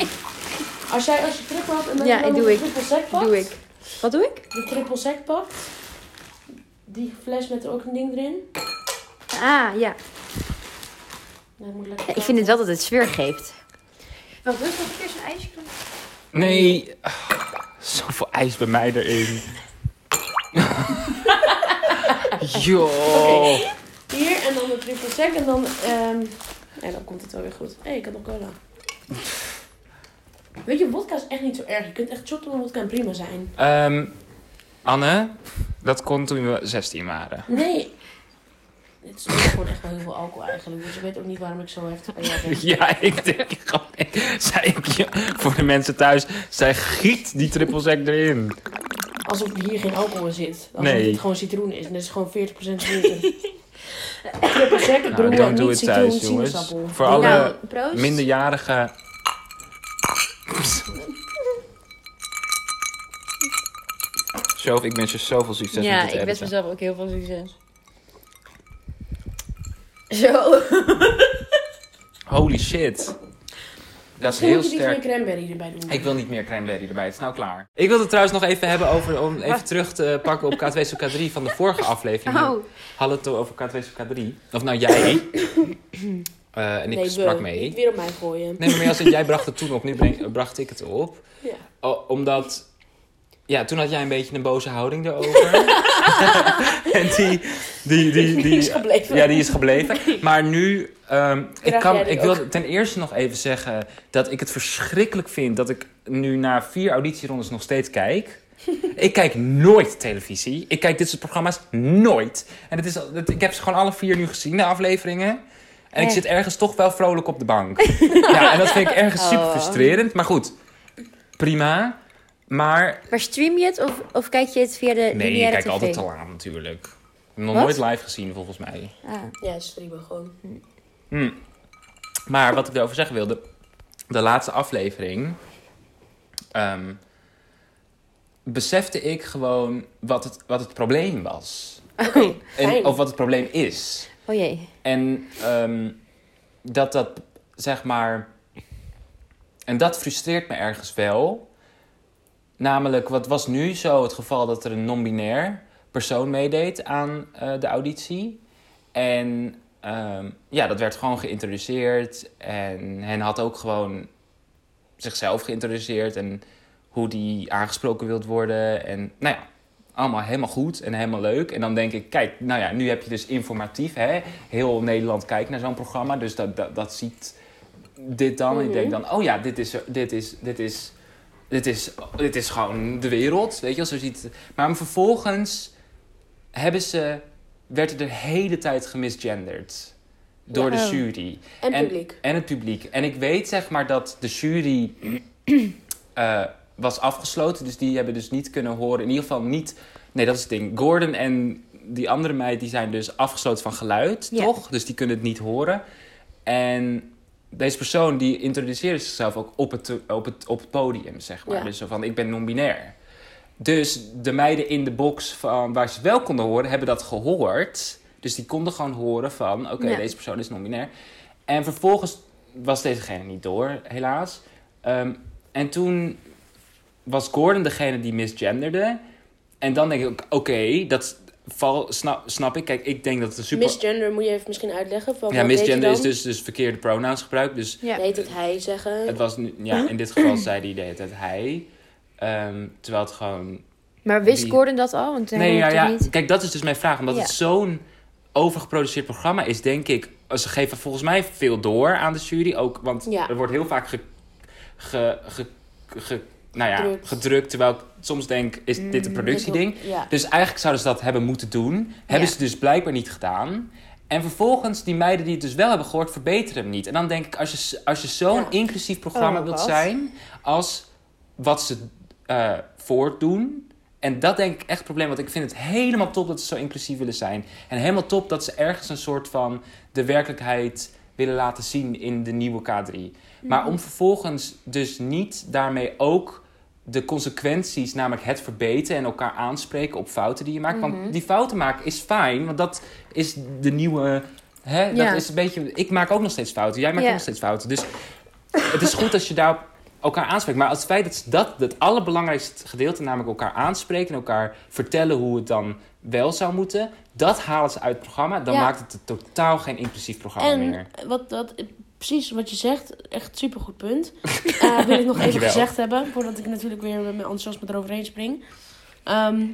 Als jij als je trippel had en dan
Ja,
je dan
doe
nog een
ik.
triple sec pakt.
Doe ik. Wat doe ik?
De triple sec pakt. Die fles met er ook een ding erin.
Ah, ja.
Dat moet
Ja,
lekker
Ik vind het wel dat het sfeer geeft. Wat wil je nog een keer zo'n ijsje doen?
Nee. [sighs] Zoveel ijs bij mij erin. [laughs] Joh.
Hier en dan de triple sec en dan... ehm en dan komt het wel weer goed. Hé, hey, ik had nog cola. Weet je, vodka is echt niet zo erg. Je kunt echt shot van vodka en prima zijn.
Ehm, Anne, dat kon toen we 16 waren. [laughs]
Nee. Dit is ook gewoon echt wel heel veel alcohol eigenlijk. Dus ik weet ook niet waarom ik zo heftig ben.
Ja, ik denk gewoon. Zij, ja, voor de mensen thuis, zij giet die triple sec erin.
Alsof hier geen alcohol in zit. Alsof
Nee.
het gewoon citroen is. En dit is gewoon 40%
[laughs]
citroen. Triple sec,
Nou,
broer,
don't do
niet
it
citroen,
thuis, jongens.
sinaasappel.
Voor alle-
Nou, proost.
Minderjarige. Zo, ik wens je zoveel succes
ja,
met dit
ik wens
editen.
mezelf ook heel veel succes. [laughs] Zo.
Holy shit. Dat is
Misschien
heel
moet je die van je
sterk.
cranberry erbij doen.
Ik wil niet meer cranberry erbij, het is nou klaar. Ik wilde trouwens nog even hebben over, om even terug te pakken
[laughs]
op K2 zoek K3 van de vorige aflevering.
Oh.
Hadden we het over K2 zoek K3. Of nou jij.
[coughs]
Eh, en ik
nee, we,
sprak mee.
Niet weer op mij gooien.
Nee, maar meer als in, jij bracht het toen op, nu
[laughs]
breng- bracht ik het op.
Ja.
O- omdat, ja, toen had jij een beetje een boze houding
[laughs]
erover. [laughs] en die, die, die, die,
Die is gebleven.
Ja, die is
[laughs]
gebleven. Maar nu, ehm, ik,
Krijg
kan,
jij die
ik wil ten eerste nog even zeggen dat ik het verschrikkelijk vind dat ik nu na vier auditierondes nog steeds
[laughs]
kijk. Ik kijk nooit televisie. Ik kijk dit soort programma's nooit. En het is, al- het- ik heb ze gewoon alle vier nu gezien, de afleveringen. En ik
Echt?
zit ergens toch wel vrolijk
[laughs]
op de bank. ja, en dat vind ik ergens super
Oh.
frustrerend. Maar goed, prima. Maar
Maar stream je het of, of kijk je het via de
nee, je
lineaire
kijkt
tv?
altijd te laat natuurlijk. Ik heb nog
Wat?
nooit live gezien volgens mij.
Ah.
Ja, streamen gewoon.
Hm. Maar wat ik erover zeggen wilde, de laatste aflevering ehm, besefte ik gewoon wat het, wat het probleem was. En,
fijn.
of wat het probleem is.
Oh jee.
En ehm, dat dat, zeg maar. En dat frustreert me ergens wel. Namelijk, wat was nu zo het geval dat er een non-binair persoon meedeed aan eh, de auditie? En ehm, ja, dat werd gewoon geïntroduceerd. En hen had ook gewoon zichzelf geïntroduceerd en hoe die aangesproken wilt worden. En nou ja, allemaal helemaal goed en helemaal leuk. En dan denk ik, kijk, nou ja, nu heb je dus informatief, hè? Heel Nederland kijkt naar zo'n programma, dus dat, dat, dat ziet dit dan. En ik denk dan, oh ja, dit is, er- dit is, dit is, dit is, dit is gewoon de wereld, weet je wel, zo ziet het. Maar vervolgens hebben ze, werd er de hele tijd gemisgenderd door de
Wauw.
jury.
En publiek.
En het publiek. En ik weet zeg maar dat de jury [clears throat] eh, was afgesloten. Dus die hebben dus niet kunnen horen. In ieder geval niet. Nee, dat is het ding. Gordon en die andere meid die zijn dus afgesloten van geluid,
Ja.
toch? Dus die kunnen het niet horen. En deze persoon die introduceerde zichzelf ook op het, op het, op het podium, zeg maar.
Ja.
Dus zo van, ik ben non-binair. Dus de meiden in de box van, waar ze wel konden horen, hebben dat gehoord. Dus die konden gewoon horen van, oké,
Ja.
deze persoon is non-binair. En vervolgens was dezegene niet door, helaas. Ehm, en toen was Gordon degene die misgenderde. En dan denk ik, oké, dat val, snap, snap ik. Kijk, ik denk dat het een super...
Misgender moet je even misschien uitleggen. Van
ja,
wat deed
misgender
hij
is
dan?
dus, dus verkeerde pronouns gebruikt. Dus
Ja.
Deed het hij zeggen?
het was nu, ja, in dit geval zei die de hele tijd hij. Ehm, terwijl het gewoon...
Maar wist
Die-
Gordon dat al? Want hij
Nee, ja,
hoort het
ja.
niet.
Kijk, dat is dus mijn vraag. Omdat
Ja.
het zo'n overgeproduceerd programma is, denk ik... Ze geven volgens mij veel door aan de jury. Ook, want
Ja.
er wordt heel vaak ge, ge, ge, ge- nou ja,
Gedrukt.
gedrukt. Terwijl ik soms denk, is
Mm,
dit een productieding?
Ja.
Dus eigenlijk zouden ze dat hebben moeten doen. Hebben
Ja.
ze dus blijkbaar niet gedaan. En vervolgens, die meiden die het dus wel hebben gehoord, verbeteren hem niet. En dan denk ik, als je, als je zo'n
Ja.
inclusief programma
Oh,
wilt
wat?
zijn, als wat ze eh, voortdoen. En dat denk ik echt het probleem, want ik vind het helemaal top dat ze zo inclusief willen zijn. En helemaal top dat ze ergens een soort van de werkelijkheid willen laten zien in de nieuwe K3. Maar
Mhm.
om vervolgens dus niet daarmee ook de consequenties, namelijk het verbeteren en elkaar aanspreken op fouten die je maakt.
Mhm.
Want die fouten maken is fijn, want dat is de nieuwe. Hè,
Ja.
Dat is een beetje. Ik maak ook nog steeds fouten, jij maakt
Ja.
ook nog steeds fouten. Dus het is goed als je daar elkaar aanspreekt. Maar als het feit dat ze dat het allerbelangrijkste gedeelte, namelijk elkaar aanspreken en elkaar vertellen hoe het dan wel zou moeten, dat halen ze uit het programma. Dan
Ja.
maakt het een totaal geen inclusief programma meer.
En wat, wat, precies wat je zegt, echt supergoed punt. [laughs] Eh wil ik nog even
Dankjewel.
gezegd hebben, voordat ik natuurlijk weer met mijn enthousiasme eroverheen spring. Ehm,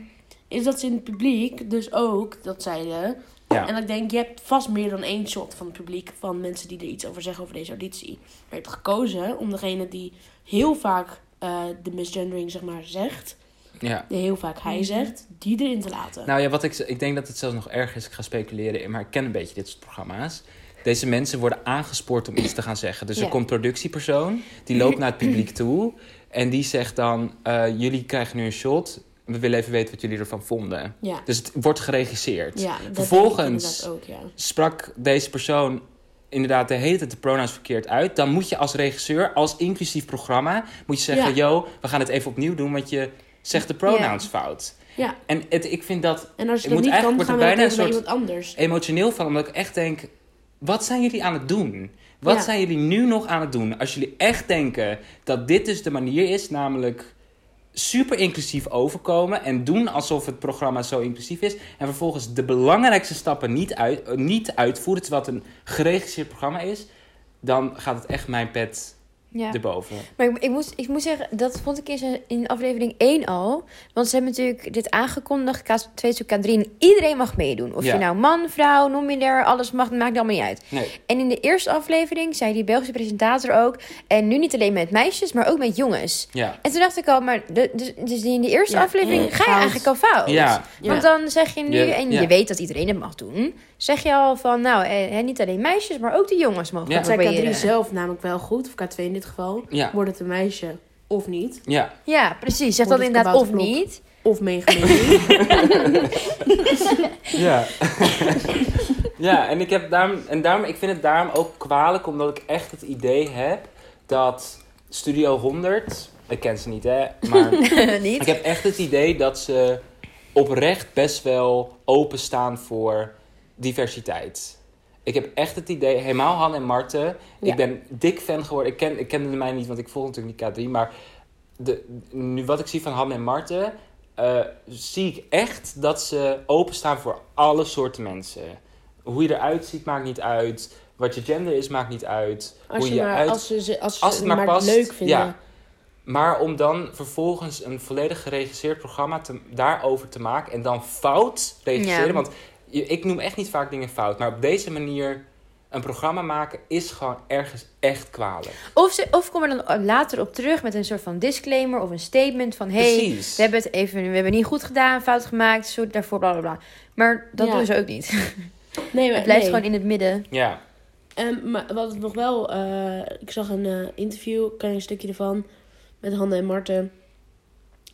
is dat ze in het publiek dus ook dat zeiden.
Ja.
En ik denk, je hebt vast meer dan één shot van het publiek van mensen die er iets over zeggen over deze auditie. Er werd gekozen om degene die heel vaak eh, de misgendering zeg maar zegt,
Ja.
die heel vaak hij zegt, die erin te laten.
Mhm. Nou ja, wat ik, ik denk dat het zelfs nog erger is. Ik ga speculeren, maar ik ken een beetje dit soort programma's. Deze mensen worden aangespoord om iets te gaan zeggen. Dus
Ja.
er komt een productiepersoon, die loopt naar het
[laughs]
publiek toe. En die zegt dan, eh, jullie krijgen nu een shot. We willen even weten wat jullie ervan vonden.
ja.
Dus het wordt geregisseerd.
ja, dat denk ik
dus Vervolgens-
inderdaad ook, ja.
Sprak deze persoon inderdaad de hele tijd de pronouns verkeerd uit... dan moet je als regisseur, als inclusief programma... moet je zeggen,
Ja.
yo, we gaan het even opnieuw doen... want je zegt de pronouns fout.
Ja.
En het, ik vind dat
En als je
Je
dat
moet
niet
eigenlijk-
kan, gaan we
wordt er
bijna
bijna
naar
een
iemand anders.
emotioneel van, omdat ik echt denk: wat zijn jullie aan het doen? Wat
Ja.
zijn jullie nu nog aan het doen? Als jullie echt denken dat dit dus de manier is, namelijk super inclusief overkomen en doen alsof het programma zo inclusief is, en vervolgens de belangrijkste stappen niet, uit, eh, niet uitvoeren, terwijl het een geregisseerd programma is, dan gaat het echt mijn pet
Ja.
erboven.
Maar ik, ik, moest, ik moet zeggen, dat vond ik in, in aflevering 1 al. Want ze hebben natuurlijk dit aangekondigd, K2 tot K3. En iedereen mag meedoen. Of
Ja.
je nou man, vrouw, non-binair, alles mag, maakt allemaal niet uit.
Nee.
En in de eerste aflevering zei die Belgische presentator ook... en nu niet alleen met meisjes, maar ook met jongens.
Ja.
En toen dacht ik al, maar de, dus, dus in de eerste
Ja,
aflevering
eh,
ga je
fout.
eigenlijk al fout.
Ja.
Want dan zeg je nu,
Ja,
en
ja.
je weet dat iedereen het mag doen... zeg je al van, nou, eh, niet alleen meisjes, maar ook de jongens mogen
Ja.
het
Zij
proberen.
K3 zelf namelijk wel goed, of K2 in dit geval,
Ja.
wordt het een meisje. of niet.
Ja,
Ja, precies. Zeg
Wordt
dat
het
inderdaad of
kabouterblok?
niet. [laughs]
[laughs]
Of meegenomen.
ja. ja, en ik, heb daarom, en daarom, ik vind het daarom ook kwalijk, omdat ik echt het idee heb dat Studio 100, ik ken ze niet hè, maar
niet.
Ik heb echt het idee dat ze oprecht best wel openstaan voor diversiteit. Ik heb echt het idee, helemaal Han en Marten.
Ja.
Ik ben dik fan geworden. Ik, ken, ik kende mij niet, want ik volg natuurlijk niet K3. Maar de, nu wat ik zie van Han en Marten, eh, zie ik echt dat ze openstaan voor alle soorten mensen. Hoe je eruit ziet, maakt niet uit. Wat je gender is, maakt niet uit.
Als,
Hoe
je maar, als, ze, ze- als, ze
als
het
het
maar,
maar past,
leuk vinden.
ja. Maar om dan vervolgens een volledig geregisseerd programma te, daarover te maken en dan fout regisseren.
Ja.
Want je- ik noem echt niet vaak dingen fout. Maar op deze manier een programma maken is gewoon ergens echt kwalijk.
Of, ze, of kom er dan later op terug met een soort van disclaimer of een statement van... hey,
Precies.
we hebben het even we hebben niet goed gedaan, fout gemaakt, zo daarvoor, bla bla bla. Maar dat
Ja.
doen ze ook niet.
Nee, maar,
Het blijft
nee.
gewoon in het midden.
Ja.
En, maar wat nog wel, eh, ik zag een eh, interview, een klein stukje ervan, met Hanna en Marten.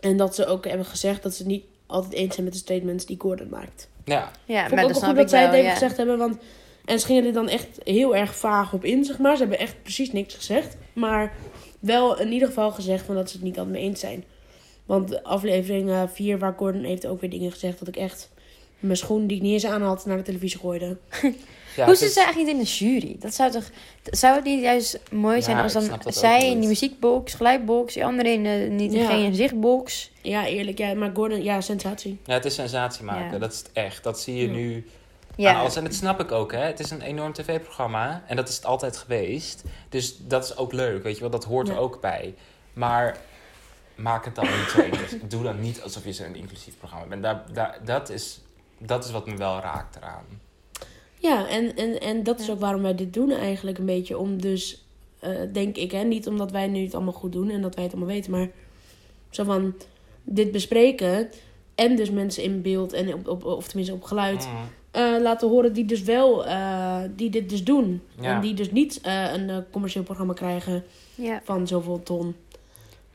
En dat ze ook hebben gezegd dat ze het niet altijd eens zijn met de statements die Gordon maakt.
ja.
Ja,
Vond
maar
ik
dat
ook wel
snap
goed
ik
dat zij
wel,
het even
ja.
gezegd hebben, want... En ze gingen er dan echt heel erg vaag op in, zeg maar. Ze hebben echt precies niks gezegd. Maar wel in ieder geval gezegd van dat ze het niet altijd mee eens zijn. Want de aflevering eh, 4, waar Gordon heeft ook weer dingen gezegd... dat ik echt mijn schoen die ik niet eens aan had naar de televisie gooide.
ja
Hoe
het
zit
is-
ze eigenlijk niet in de jury? Dat zou toch... Zou het niet juist mooi zijn
Ja,
als
ik
dan
snap dat ook
zij in
niet.
die muziekbox, geluidbox, die andere in de, niet
Ja.
degene in zichtbox...
Ja, eerlijk. Ja, maar Gordon, ja, sensatie.
ja, het is sensatie maken.
Ja.
Dat is het echt. Dat zie je
Ja.
nu aan
Ja,
alles. En dat snap ik ook, hè. Het is een enorm tv-programma. En dat is het altijd geweest. Dus dat is ook leuk, weet je wel. Dat hoort
Ja.
er ook bij. Maar maak het dan niet zo inclusief. Doe dan niet alsof je zo'n inclusief programma bent. Daar, daar, dat, is, dat is wat me wel raakt eraan.
Ja, en, en, en dat is ook waarom wij dit doen eigenlijk een beetje. Om dus, eh, denk ik, hè, niet omdat wij nu het allemaal goed doen en dat wij het allemaal weten, maar zo van dit bespreken en dus mensen in beeld en op, op, of tenminste op geluid
Mm.
eh, laten horen die dus wel, eh, die dit dus doen.
Ja.
En die dus niet eh, een eh, commercieel programma krijgen
ja.
van zoveel ton.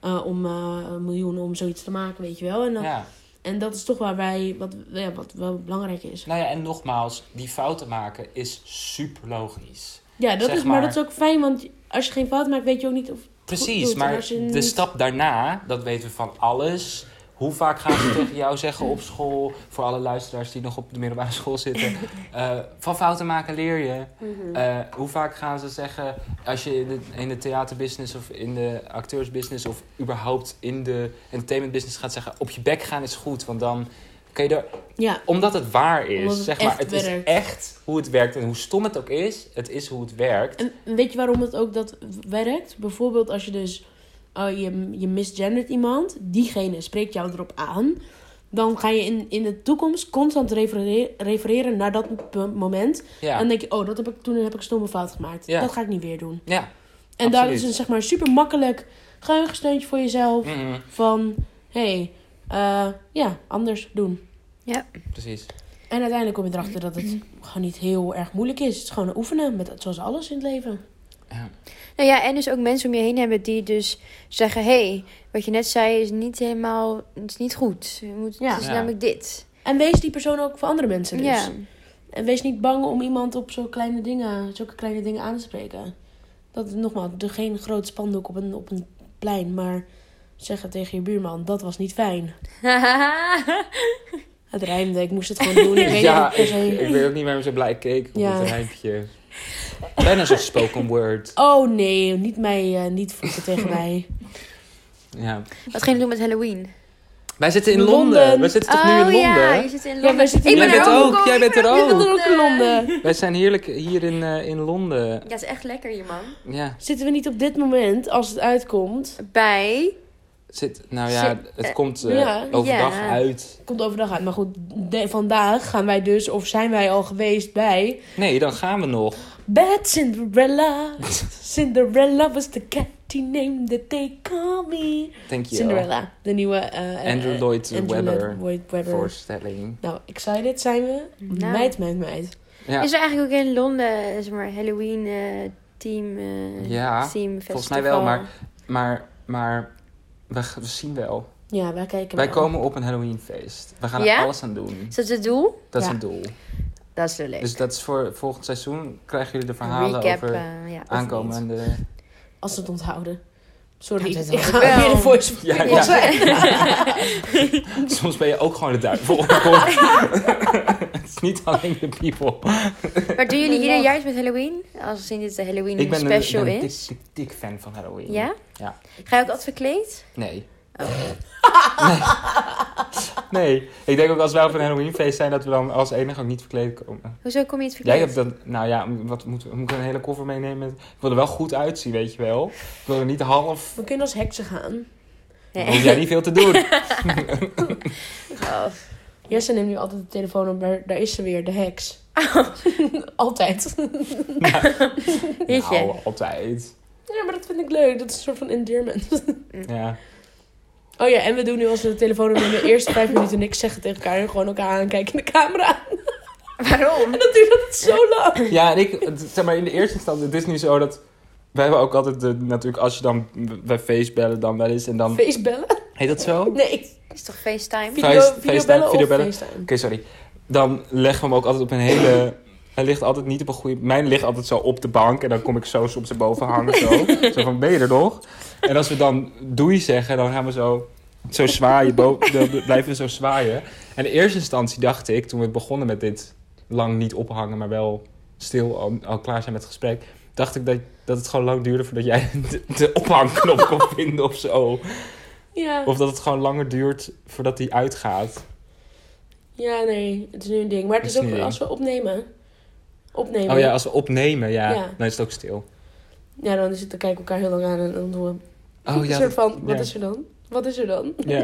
eh, om eh, miljoenen om zoiets te maken, weet je wel. En, dan-
Ja.
en dat is toch waar wij, wat, ja, wat wel belangrijk is.
Nou ja, en nogmaals, die fouten maken is super logisch.
Ja, dat
Zeg
is, maar
maar.
dat is ook fijn, want als je geen fout maakt, weet je ook niet of. Goed doet,
Precies,
en
maar
als je
de
niet-
stap daarna, dat weten we van alles. Hoe vaak gaan ze tegen jou zeggen op school, voor alle luisteraars die nog op de middelbare school zitten,
[laughs]
eh, van fouten maken leer je.
Mhm.
Eh, hoe vaak gaan ze zeggen, als je in de, in de theaterbusiness of in de acteursbusiness of überhaupt in de entertainmentbusiness gaat zeggen, op je bek gaan is goed, want dan kan je er
Ja,
omdat het waar is,
Omdat het
zeg maar.
echt
Het is
werkt.
echt hoe het werkt en hoe stom het ook is, het is hoe het werkt.
en weet je waarom het ook dat werkt? Bijvoorbeeld als je dus. eh, je, je misgendert iemand, diegene spreekt jou erop aan. Dan ga je in, in de toekomst constant refereren, refereren naar dat p- moment. En
Ja,
dan denk je, oh, dat heb ik, toen heb ik een stomme fout gemaakt.
Ja.
Dat ga ik niet weer doen.
ja.
En daar is
Absoluut.
een zeg maar, super makkelijk geheugensteuntje voor jezelf.
Mhm,
Van, hey, eh, ja, anders doen.
precies.
En uiteindelijk kom je erachter dat het gewoon niet heel erg moeilijk is. Het is gewoon oefenen, met, zoals alles in het leven.
Ja.
Nou ja, en dus ook mensen om je heen hebben die dus zeggen... hé, hey, wat je net zei is niet helemaal... het is niet goed. Je moet,
Ja.
Het is
Ja.
namelijk dit.
En wees die persoon ook voor andere mensen dus.
Ja.
En wees niet bang om iemand op zo'n kleine dingen, zulke kleine dingen aan te spreken. Dat, nogmaals, doe geen groot spandoek op een, op een plein, maar zeg het tegen je buurman. Dat was niet fijn.
[laughs]
Het rijmde, ik moest het gewoon
[laughs]
doen. Ik weet
Ja,
niet per
ik,
se-
ik weet ook niet waarom ze blij keek op
Ja.
het rijmpje. Bijna zo'n spoken word.
Oh nee, niet mij, eh, niet vroegen
[laughs]
tegen mij.
Ja.
Wat ging je doen met Halloween? Oh,
Wij zitten in
Londen. Oh,
Londen. Wij zitten toch nu in Londen?
ja, je zit in Londen.
wij zitten
ik
in
ben
Londen.
er
Jij
ook.
bent
ook,
gekomen,
jij
ik
bent
ben
er
Ik
Oh.
ben er ook in Londen.
Wij zijn heerlijk hier in, eh, in Londen.
Ja, het is echt lekker hier, man.
Ja,
Zitten we niet op dit moment, als het uitkomt,
Bij...
zit, nou ja,
Zit-
het komt eh,
ja,
overdag
ja.
uit.
komt overdag uit. Maar goed, de- vandaag gaan wij dus, of zijn wij al geweest bij...
Nee, dan gaan we nog.
Bad Cinderella.
[laughs]
Cinderella was the cat he named that they call me.
Thank you.
Cinderella, de nieuwe... eh, eh,
Andrew
eh,
Lloyd
Andrew
Webber.
Lloyd- Lloyd Webber.
Voorstelling.
Nou, excited zijn we.
Nou.
Meid, meid, meid.
Ja.
Is er eigenlijk ook in Londen, zeg maar, Halloween eh, team, eh
Ja,
team
volgens mij wel, maar- Maar, maar We, g- we zien wel.
Ja, wij kijken
Wij
wel.
komen op een Halloweenfeest. We gaan
Ja?
er alles aan doen.
Is dat het doel?
Dat is
Ja.
een doel.
Dat is wel leuk.
Dus dat is voor volgend seizoen. Krijgen jullie de verhalen
Recap,
over
eh, ja, of niet.
aankomende...
Als ze het onthouden. Sorry,
Ja, dat
[laughs] ik
hoop
ga
ik wel.
weer een voice [laughs] of
Ja,
people
ja.
[laughs]
zijn.
[laughs] Soms ben je ook gewoon de [laughs] duivel. het is niet alleen de people.
Maar doen jullie
Ik
ieder
lach.
jaar iets met Halloween? Als in dit de Halloween
Ik ben een, ik
special
ben een dik,
is?
dik, dik fan van Halloween.
Ja? Oh.
Ja.
Ga je ook altijd verkleed?
Nee. [laughs] nee. Nee. Ik denk ook als wij op een Halloweenfeest zijn, dat we dan als enige ook niet verkleed komen.
Hoezo kom je het verkleed?
Jij hebt dan, nou ja, wat moet, moet ik een hele koffer meenemen? met- Ik wil er wel goed uitzien, weet je wel. Ik wil er niet half.
We kunnen als heksen gaan.
Dan
Nee.
hoef jij niet veel te
[laughs]
doen.
Oh.
Jesse neemt nu altijd de telefoon op, maar daar is ze weer, de heks.
Oh.
[laughs] altijd.
Weet je.
Nou, altijd.
Ja, maar dat vind ik leuk. Dat is een soort van endearment.
Ja.
Oh ja, en we doen nu als we de telefoon hebben de eerste vijf minuten niks zeggen tegen elkaar. En gewoon elkaar aankijken in de camera.
Waarom?
En dat duurt altijd zo lang.
Ja, en ik, het- zeg maar, in de eerste instantie, het is nu zo dat... Wij hebben ook altijd, de, natuurlijk, als je dan bij facebellen dan wel eens en dan...
Facebellen?
Heet dat zo? Oké,
Nee,
Is toch FaceTime?
video,
Face-
videobellen of
videobellen.
facetime?
sorry. Dan leggen we hem ook altijd op een hele... Hij ligt altijd niet op een goede... Mijn ligt altijd zo op de bank en dan kom ik zo soms erboven hangen. Zo, zo van, ben je er nog? En als we dan doei zeggen, dan gaan we zo, zo zwaaien. bo- dan blijven we zo zwaaien. En in eerste instantie dacht ik, toen we begonnen met dit lang niet ophangen, maar wel stil al, al klaar zijn met het gesprek, dacht ik dat, dat het gewoon lang duurde voordat jij de, de ophangknop kon vinden of zo.
Ja.
Of dat het gewoon langer duurt voordat die uitgaat.
ja, nee, het is nu een ding. Maar het
Het
is
is nu
ook
een ding.
als we opnemen. Opnemen.
Oh ja, als we opnemen, ja,
Ja.
dan is het ook stil.
Ja, dan is het, dan kijken we elkaar heel lang aan en dan doen we...
Oh
een
ja,
soort van, wat
ja.
is er dan? Wat is er dan?
Ja.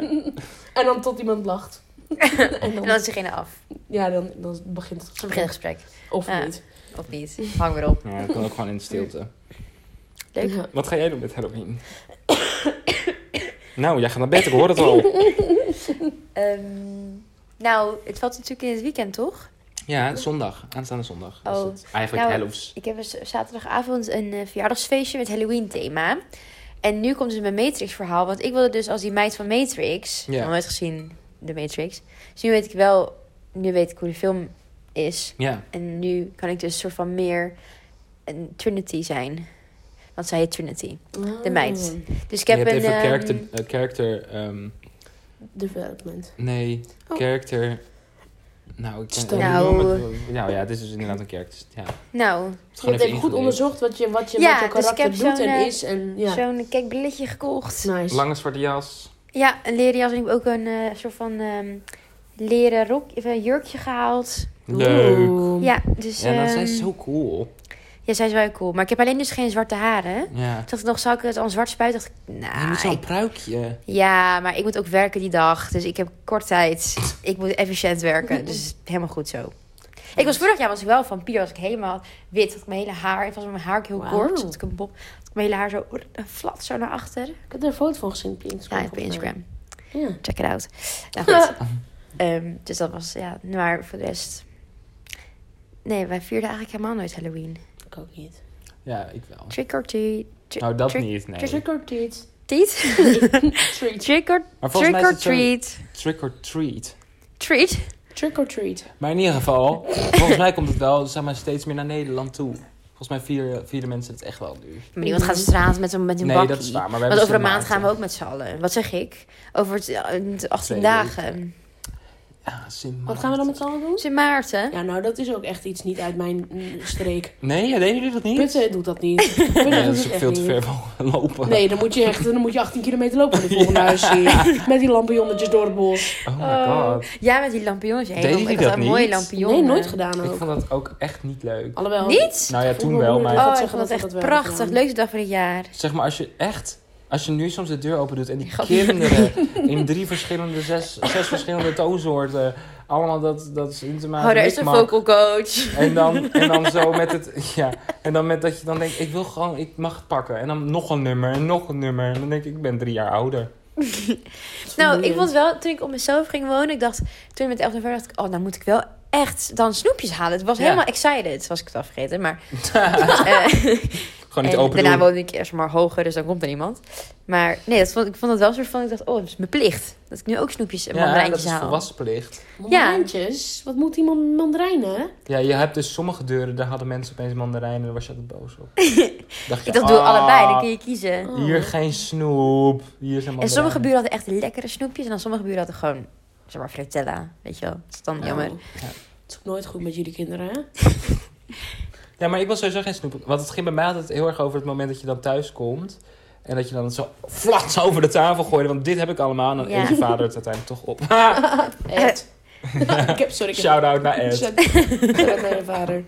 en dan tot
[laughs]
iemand lacht. en
En
dan,
dan is degene af.
ja, dan, dan begint het
Ze beginnen het gesprek.
Of
Ja.
niet.
Of niet. Hang weer op.
Ja, dat Nou, kan ook gewoon in de stilte.
Leuk.
Ja.
Wat ga jij doen met
[coughs]
Halloween? nou, jij gaat naar bed, ik hoor het al.
Ehm, nou, het valt natuurlijk in het weekend, toch?
[coughs] Ja, zondag. Aanstaande zondag is
Oh,
het. Eigenlijk
nou,
Halloween.
Ik heb dus zaterdagavond een eh, verjaardagsfeestje met Halloween thema. En nu komt dus mijn Matrix verhaal. Want ik wilde dus als die meid van Matrix.
Ja.
Nog nooit gezien de Matrix. Dus nu weet ik wel. Nu weet ik hoe de film is.
Ja.
En nu kan ik dus een soort van meer een Trinity zijn. Want zij heet Trinity. De meid.
Oh.
Dus ik heb
je hebt
een.
even
ehm,
character... eh, character ehm,
Development.
nee,
Oh.
character... Nou, ik kan-
Study.
Nou.
nou ja, het is dus inderdaad een character. Ja. Het
nou,
is
Je
gewoon
hebt even goed
ingelezen.
onderzocht wat je, wat je
Ja,
met jouw
dus ik
karakter
heb
doet
zo'n,
en
eh,
is. En, ja,
zo'n kekbrilletje gekocht.
nice.
Lange zwarte jas.
Ja, een leren jas. En ik heb ook een eh, soort van ehm, leren rok, of een jurkje gehaald.
Leuk.
Oeh.
Ja, dus...
Ja, dan zijn
ehm,
ze zo cool.
Ja, zij is wel cool. Maar ik heb alleen dus geen zwarte haren.
Ja.
Ik dacht nog, zou ik het al zwart spuiten? Ik dacht,
je moet
nou...
zo'n
ik-
pruikje.
Ja, maar ik moet ook werken die dag. Dus ik heb kort tijd. Ik moet efficiënt werken. Dus helemaal goed zo. Ik was vorig jaar was ik wel van Pier. Was ik helemaal wit. Had ik mijn hele haar... Ik was met mijn haar ook heel
Wauw.
kort. Had ik een bob. Had ik mijn hele haar zo eh, flat zo naar achter.
Ik had er een foto van gezien op je Instagram.
Ja, Ah, op
volgens mij.
Instagram.
Ja.
Check it out. Nou [laughs] goed. Ehm, dus dat was, ja, maar voor de rest. Nee, wij vierden eigenlijk helemaal nooit Halloween.
Ik ook niet.
Ja, ik wel.
Trick or treat. tri-
Nou, dat
trick-
niet, nee.
Trick or treat.
Treat?
Treat.
[laughs] trick or,
Maar volgens
trick
mij is
or
het zo-
treat.
Trick or treat.
Treat?
Trick or treat.
Maar in ieder geval, volgens mij komt het wel zeg maar, steeds meer naar Nederland toe. Volgens mij vieren, vieren mensen het echt wel nu.
Maar niemand gaat de straat met een, met een
Nee,
bakkie.
dat is waar. Maar we
Want
hebben
over een
ze
maand
maarten.
gaan we ook met z'n allen. Wat zeg ik? Over het, eh, de 18
Twee
dagen.
Ja, Sint
Wat gaan we dan met z'n allen doen?
Sint Maarten.
Ja, nou, dat is ook echt iets niet uit mijn mm, streek.
Nee, ja, deden jullie dat niet?
Putten doet dat
[laughs]
niet. Putten
Nee,
doet
dat is
het
ook
echt
veel te
niet.
ver lopen.
Nee, dan moet, je echt, dan moet je 18 kilometer lopen van de volgende huis zien. [laughs] Met die lampionnetjes door het bos.
Oh my god.
Ja, met die lampionnetjes. Hey,
Deden
ik
jullie
had
dat
een mooie
niet?
lampion.
Nee, nooit gedaan
Ik
ook. Oh,
vond dat ook echt niet leuk.
Alhoewel.
Niet?
Nou ja, toen
Vroeger
wel,
moeder
maar
had
Oh, ik
zeggen
vond het
dat we
echt
dat wel
prachtig.
gedaan.
Leukste dag van het jaar.
Oh.
zeg maar als je echt... Als je nu soms de deur open doet en die
Gat.
[laughs]
kinderen in drie verschillende, zes, zes verschillende toonsoorten... Allemaal dat, dat is in te maken.
Oh, daar is een vocal coach.
En
[laughs]
dan, en dan zo met het. Ja, en dan met dat je dan denkt: ik wil gewoon, ik mag het pakken. En dan nog een nummer en nog een nummer. En dan denk ik: ik ben drie jaar ouder.
Nou, ik
Vermoeiend.
vond wel, toen ik op mezelf ging wonen, ik dacht, toen ik met 11 november dacht ik, oh, nou moet ik wel echt dan snoepjes halen. Het was
Ja. [laughs]
helemaal excited, was ik het al vergeten. Maar eh,
Gewoon niet
en
open
daarna
doen.
woonde ik eerst maar hoger, dus dan komt er niemand. Maar nee, dat vond, ik vond het wel een soort van, ik dacht, oh, dat is mijn plicht. Dat ik nu ook snoepjes en
Ja, dat
mandarijntjes
is
haal.
volwassenplicht.
Mandarijntjes? Wat moet die man- mandarijnen?
Ja, je hebt dus sommige deuren, daar hadden mensen opeens mandarijnen en daar was je altijd boos
[laughs]
op. dacht je,
Ik dacht, doe
ah,
allebei, dan kun je kiezen.
Oh.
Hier geen snoep, hier zijn mandarijnen.
En sommige buren hadden echt lekkere snoepjes. En dan sommige buren hadden gewoon, zeg maar, fritella. Weet je wel, dat is dan jammer.
Oh. Het is ook nooit goed met jullie kinderen,
[laughs]
hè?
Ja, maar ik was sowieso geen snoep. Want het ging bij mij altijd heel erg over het moment dat je dan thuis komt. En dat je dan het zo flats over de tafel gooide. Want dit heb ik allemaal. En dan
Ja.
eet je vader het uiteindelijk toch
[laughs]
op.
[laughs] Ed. ik heb, sorry, ik heb...
Shout-out naar Ed.
[laughs] Shout-out naar je vader.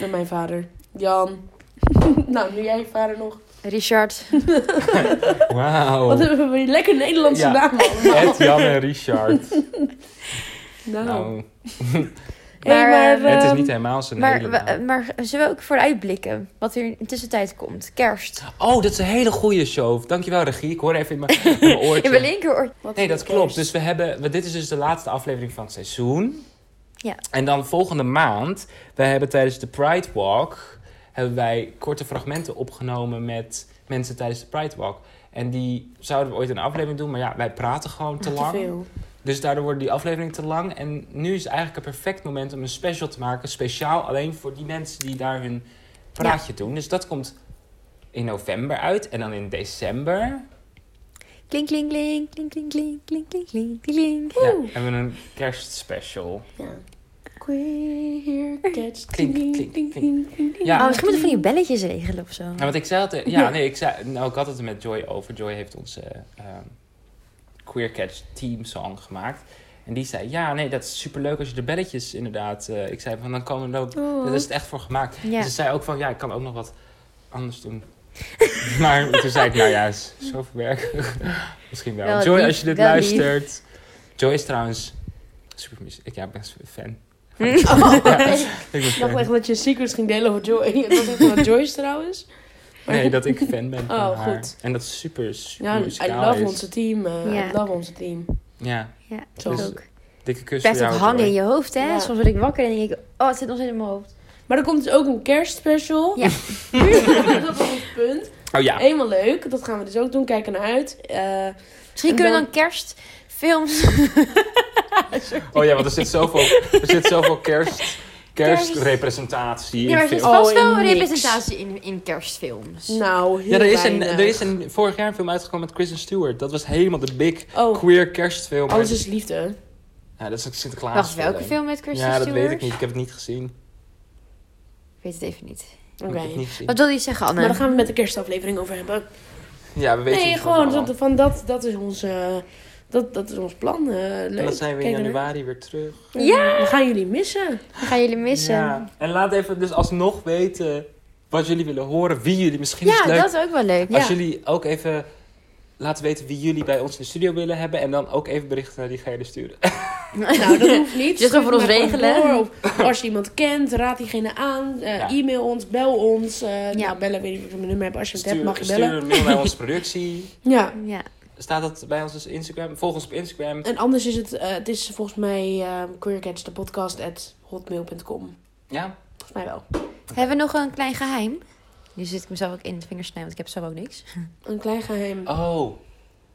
Naar mijn vader. Jan. [laughs] nou, nu jij je vader
[laughs]
nog.
Richard,
Wat
Wauw.
hebben we een lekker Nederlandse
Ja.
naam allemaal.
Ed, Jan en Richard.
[laughs] Nou.
Nou,
Hey,
Maar, eh,
maar,
het is
ehm,
niet helemaal zijn hele
maar,
naam.
we- maar zullen we ook vooruitblikken? Wat er in de tussentijd komt? Kerst.
Oh, dat is een hele goede show. Dankjewel, regie. Ik hoor even [laughs] in
[laughs]
mijn, in mijn oortje.
In mijn linkeroor.
wat
Nee,
eh, voor
dat
kerst.
klopt. Dus we hebben, we- dit is dus de laatste aflevering van het seizoen.
Ja.
En dan volgende maand, wij hebben tijdens de Pride Walk, hebben wij korte fragmenten opgenomen met mensen tijdens de Pride Walk. En die zouden we ooit in een aflevering doen, maar ja, wij praten gewoon te
Te
lang.
veel.
Dus daardoor worden die afleveringen te lang. En nu is eigenlijk een perfect moment om een special te maken. Speciaal alleen voor die mensen die daar hun praatje doen. Dus dat komt in november uit. En dan in december
Klink, klink, klink, klink, klink, klink, klink, klink, klink, klink.
ja, hebben we een kerstspecial.
Ja. Queer catch.
Klink,
ding,
klink,
ding,
klink.
ding, ding, ding.
Ja.
Oh, misschien moeten we van die belletjes regelen of zo.
Nou, want ik zei altijd... [laughs] Ja, nee, ik, zei, nou, ik had het er met Joy over. Joy heeft onze ehm, Queer Catch team song gemaakt. En die zei, ja, nee, dat is superleuk als je de belletjes inderdaad... eh, ik zei van, dan komen er ook...
Oh.
Daar is het echt voor gemaakt.
Ja.
En ze zei ook van, ja, ik kan ook nog wat anders doen. [laughs] maar toen zei ik, nou ja, is zoveel werk. [laughs] Misschien wel.
Wel
Joy,
lief,
als je dit
wel lief.
luistert... Joy is trouwens... Super, ik ja, ik ben fan.
[laughs]
[laughs]
Oh,
Ja, ik ben fan.
ik dacht echt [laughs] dat je secrets ging delen over Joy. [laughs] Dat is van Joyce trouwens.
Nee, dat ik fan ben van
Oh,
haar.
goed.
En dat is super, super
Ja, I
muzikaal
love
is.
onze team. eh,
Ja.
I love onze team.
Ja, dus
Ja,
Zo.
dat ook.
dikke kus
Blijft ook
voor jou.
hangen in
Joy.
je hoofd, hè?
Ja.
Soms word ik wakker en denk ik, oh, het zit nog steeds in mijn hoofd.
Maar er komt dus ook een kerstspecial.
Ja.
[laughs] dat was ons punt.
Oh ja,
Eenmaal leuk. Dat gaan we dus ook doen. Kijken naar uit. Eh,
Misschien
En
kunnen we
dan-
dan kerstfilms...
oh ja, want er zit zoveel, er zit
[laughs]
zoveel kerst,
[laughs]
kerstrepresentatie
Ja, maar er
in
zit
film.
Oh,
vast wel
in
een
niks.
representatie in, in kerstfilms.
nou, heel
Ja, er is, een,
weinig.
er is een vorig jaar een film uitgekomen met Kristen Stewart. Dat was helemaal de big
Oh,
queer kerstfilm.
alles is liefde.
Ja, dat is ook Sinterklaas.
Wacht, welke
film.
film met Kristen
Ja, dat
Stewart?
weet ik niet. Ik heb het niet gezien.
Ik weet het even niet.
Oké.
Ik heb het niet gezien.
Wat wilde je zeggen, Anne?
Maar daar gaan we het met de kerstaflevering over hebben.
Ja, we weten
nee,
het
gewoon
allemaal.
dat, van dat, dat, is ons, eh, dat, dat is ons plan. eh, leuk.
En dan zijn we in
Kijk ernaar.
januari weer terug.
Ja! We gaan jullie
[laughs]
missen.
We gaan jullie missen. Ja,
Ja. En laat even dus alsnog weten wat jullie willen horen. Wie jullie misschien is het leuk.
dat is ook wel leuk. [laughs]
Als
Ja.
jullie ook even laten weten wie jullie bij ons in de studio willen hebben. En dan ook even berichten naar diegene sturen.
Nou, dat hoeft niet.
Dit is gewoon voor ons
Stuur het maar gewoon
regelen.
door. Of als je iemand kent, raad diegene aan. eh,
Ja.
E-mail ons, bel ons.
Ja.
eh, Nou, bellen, weet ik niet of ik mijn nummer heb. Als je het
Stuur,
hebt, mag je
stuur
bellen.
een mail naar onze productie.
Ja.
Ja.
Staat dat bij ons dus Instagram? Volg ons op Instagram.
En anders is het, eh, het is volgens mij eh queercatch, de podcast, at hotmail.com.
Ja?
Volgens mij wel.
Hebben we nog een klein geheim? Nu zit ik mezelf ook in het vingersnij, want ik heb zelf ook niks. [laughs]
Een klein geheim.
Oh,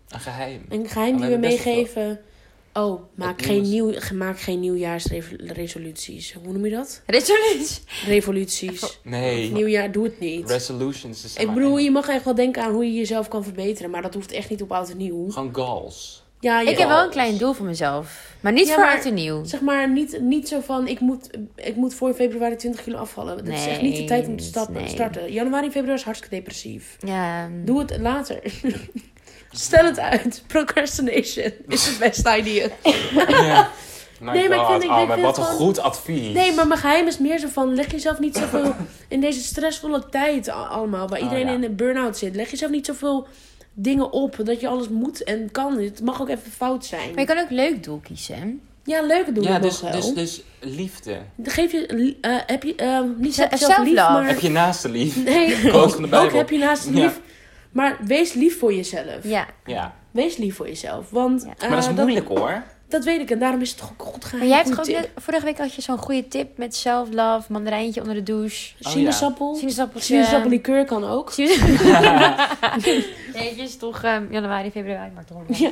een geheim.
Een geheim
Oh,
die
we
we
hebben best wel
meegeven. Oh, maak
Wat
geen, nieuw,
nieuws.
maak geen nieuwjaarsresoluties. Hoe noem je dat?
Dit is niet.
Revoluties.
Nee,
Nieuwjaar, doe het niet.
resolutions. Is
Ik
maar
bedoel,
eng.
je mag echt wel denken aan hoe je jezelf kan verbeteren. Maar dat hoeft echt niet op oud en nieuw.
Gewoon goals.
Ja, je,
[laughs] Ik heb wel een klein doel voor mezelf. Maar niet
Ja,
voor
maar-
oud en nieuw.
Zeg maar niet, niet zo van, ik moet, ik moet voor februari 20 kilo afvallen. Dat is echt niet de
Nee,
tijd om te stappen,
nee.
starten. Januari, februari is hartstikke depressief.
Ja. ehm,
Doe het later. [laughs] Stel het uit. Procrastination is het beste idee.
Ja.
Nee, maar ik vind- ik
Alma,
vind
oh, wat een
gewoon-
goed advies.
Nee, maar mijn geheim is meer zo van, leg jezelf
[laughs]
niet zoveel in deze stressvolle tijd a- allemaal, waar
Oh,
iedereen
ja.
in een burn-out zit. Leg jezelf niet zoveel dingen op, dat je alles moet en kan. Het mag ook even fout zijn.
Maar je kan ook een leuk doel kiezen. hè?
Ja, leuke doen
Ja,
ja,
dus,
nog wel.
dus, dus liefde.
Geef je, eh, heb je, eh, niet
Ze-
zelf, zelf lief,
self-love.
maar...
Heb je naaste lief?
[laughs]
[laughs]
Nee,
Quote van de
ook,
Bijbel.
ook heb je naast
Ja.
lief. Maar wees lief voor jezelf.
Ja.
Ja,
Wees lief voor jezelf. Want,
Ja.
maar dat is
eh,
moeilijk hoor.
Dat, Dat weet ik en daarom is het toch ook goed gaan.
Maar jij hebt toch ook
Goeie
net- vorige week had je zo'n goede tip met self-love, mandarijntje onder de douche.
tip. Sinaasappel.
Oh Sinaasappeltje.
Sinaasappel
[laughs]
liqueur kan ook.
nee, het is toch ehm, januari, februari, maar toch.
Ja.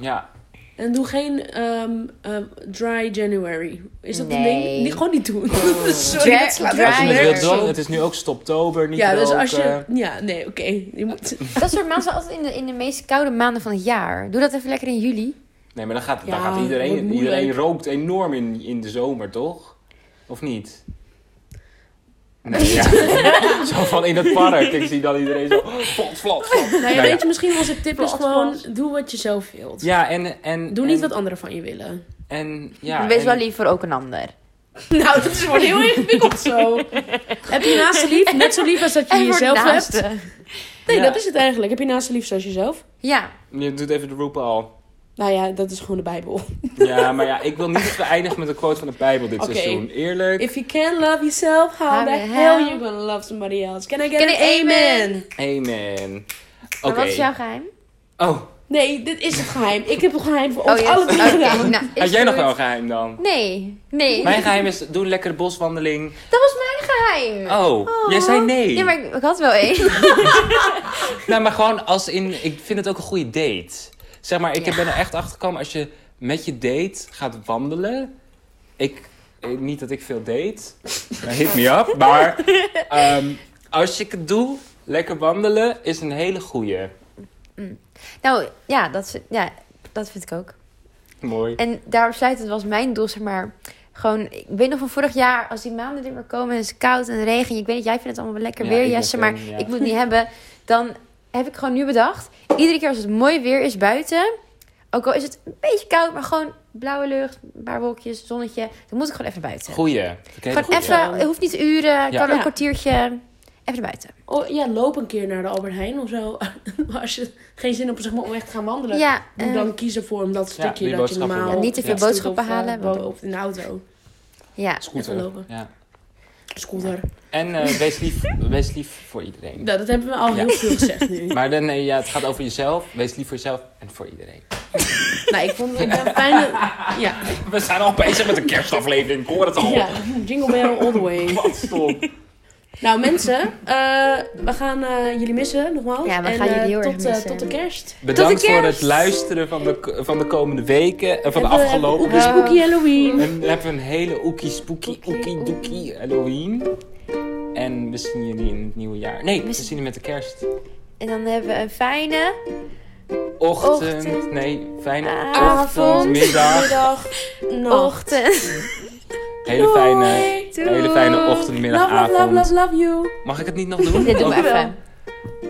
Ja.
En doe geen ehm, ehm, dry January. Is dat een
Nee.
ding? Nee, gewoon niet doen. [laughs] Sorry,
Dry-
dat slaat
dry
echt
Als je het
nergens
wilt
January.
op.
doen, het is nu ook stoptober, niet
Ja, dus als je...
roken.
Ja, nee, oké. Je moet...
Dat soort maanden zijn altijd in de, in de meest koude maanden van het jaar. Doe dat even lekker in juli.
Nee, maar dan gaat, dan
Ja,
gaat
wordt
iedereen...
moeilijk.
Iedereen rookt enorm in, in de zomer, toch? Of niet? Nee,
[laughs]
ja. zo van in het park. Ik zie dan iedereen zo... "Oh, Vlot, vlot, vlot.
Nou, ja,
Nou ja.
weet je, misschien was het tip is
Plat,
gewoon...
plat.
Doe wat je zelf wilt.
Ja, en... en
Doe niet
en,
wat anderen van je willen. [laughs]
En, ja,
En Wees
en-
wel lief voor ook een ander.
Nou, dat is gewoon heel ingewikkeld zo. Heb je naast je lief? Net zo lief als
[laughs]
dat je
voor
jezelf
naasten.
hebt? Nee,
Ja.
dat is het eigenlijk. Heb je naast je lief zoals jezelf?
Ja.
Je doet even de RuPaul.
Nou ja, dat is gewoon de Bijbel.
Ja, maar ja, ik wil niet dat we eindigen met een quote van de Bijbel dit
Oké.
seizoen. Eerlijk.
If you can't love yourself, how,
How
the
the
hell
hell?
you gonna love somebody else? Can I get
Can
an
I-
amen?
amen?
Amen.
Maar
Oké.
wat is jouw geheim?
Oh,
Nee, dit is het geheim. Ik heb het geheim voor ons
ja.
alle drie
Oh, Oké,
gedaan.
nou, is
had jij nog
goed.
wel een geheim dan?
Nee, nee.
Mijn geheim is, doe een lekkere boswandeling.
Dat was mijn geheim.
Oh, jij zei nee.
Ja, maar ik, ik had wel één. [laughs]
Nou, maar gewoon als in, ik vind het ook een goede date. Zeg maar, ik ben er echt achter gekomen als je met je date gaat wandelen. Ik, eh, niet dat ik veel date. [laughs] Nou, Hit me up. Maar ehm, als ik het doe, lekker wandelen is een hele goeie.
nou, ja dat, is- ja, dat vind ik ook.
Mooi.
En daarop sluit het was mijn doel, zeg maar. Gewoon, ik weet nog van vorig jaar, als die maanden er weer komen en het is koud en regen. Ik weet dat jij vindt het allemaal wel lekker
Ja,
weer,
ik ben
Jesse, maar
fan, ja.
ik moet het niet [laughs] hebben. Dan heb ik gewoon nu bedacht, iedere keer als het mooi weer is buiten, ook al is het een beetje koud, maar gewoon blauwe lucht, een paar wolkjes, zonnetje, dan moet ik gewoon even naar buiten.
Goeie. Vind ik een hele
Gewoon
goeie.
even, het hoeft niet uren, het
Ja.
kan
Ja.
een kwartiertje, even naar buiten.
Oh, ja, loop een keer naar de Albert Heijn of zo. [laughs] Maar als je geen zin hebt zeg maar, om echt te gaan wandelen,
Ja,
doe
eh,
dan kiezen voor om dat
Ja,
stukje
die
dat je
boodschappen
normaal...
doen.
Ja, niet te veel
iets doet
boodschappen
of, eh,
halen,
bo-
want-
Of in de auto.
eh, ja.
even
Scooter.
lopen.
Ja.
Scooter.
En eh, wees, lief, wees lief voor iedereen.
Nou, dat hebben we al heel
Ja.
veel gezegd
[laughs]
nu.
Maar dan, nee, ja, het gaat over jezelf. Wees lief voor jezelf en voor iedereen.
nou, ik vond het wel fijn. dat- Ja,
We zijn al bezig met een kerstaflevering. Ik hoor het al.
ja, jingle bell all the way.
Wat stom.
Nou mensen, eh, we gaan eh, jullie missen nogmaals.
Ja, we
En,
gaan jullie
eh,
heel erg
tot, eh,
missen.
tot de kerst.
Bedankt
Tot de
voor
kerst.
het luisteren van de, van de komende weken en van de
Hebben we-
afgelopen.
Oekie eh, spooky Halloween.
En we hebben een hele oekie spooky oekie doekie Halloween. En we zien jullie in het nieuwe jaar. Nee, we zien jullie met de kerst.
En dan hebben we een fijne
Ochtend.
Ochtend.
Nee, fijne
Avond.
ochtend, middag.
Middag. Nacht.
ochtend. [laughs]
Hele fijne,
Doei.
hele fijne ochtend, middag,
Love, love, love, love,
avond.
love you.
Mag ik het niet nog doen?
Dit doen we
Ook-
even.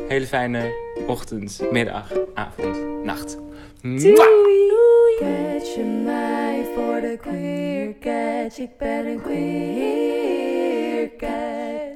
Hele fijne ochtend, middag, avond, nacht. Mwah!
Doei.
Catch je mij voor de queer catch, ik ben een queer catch.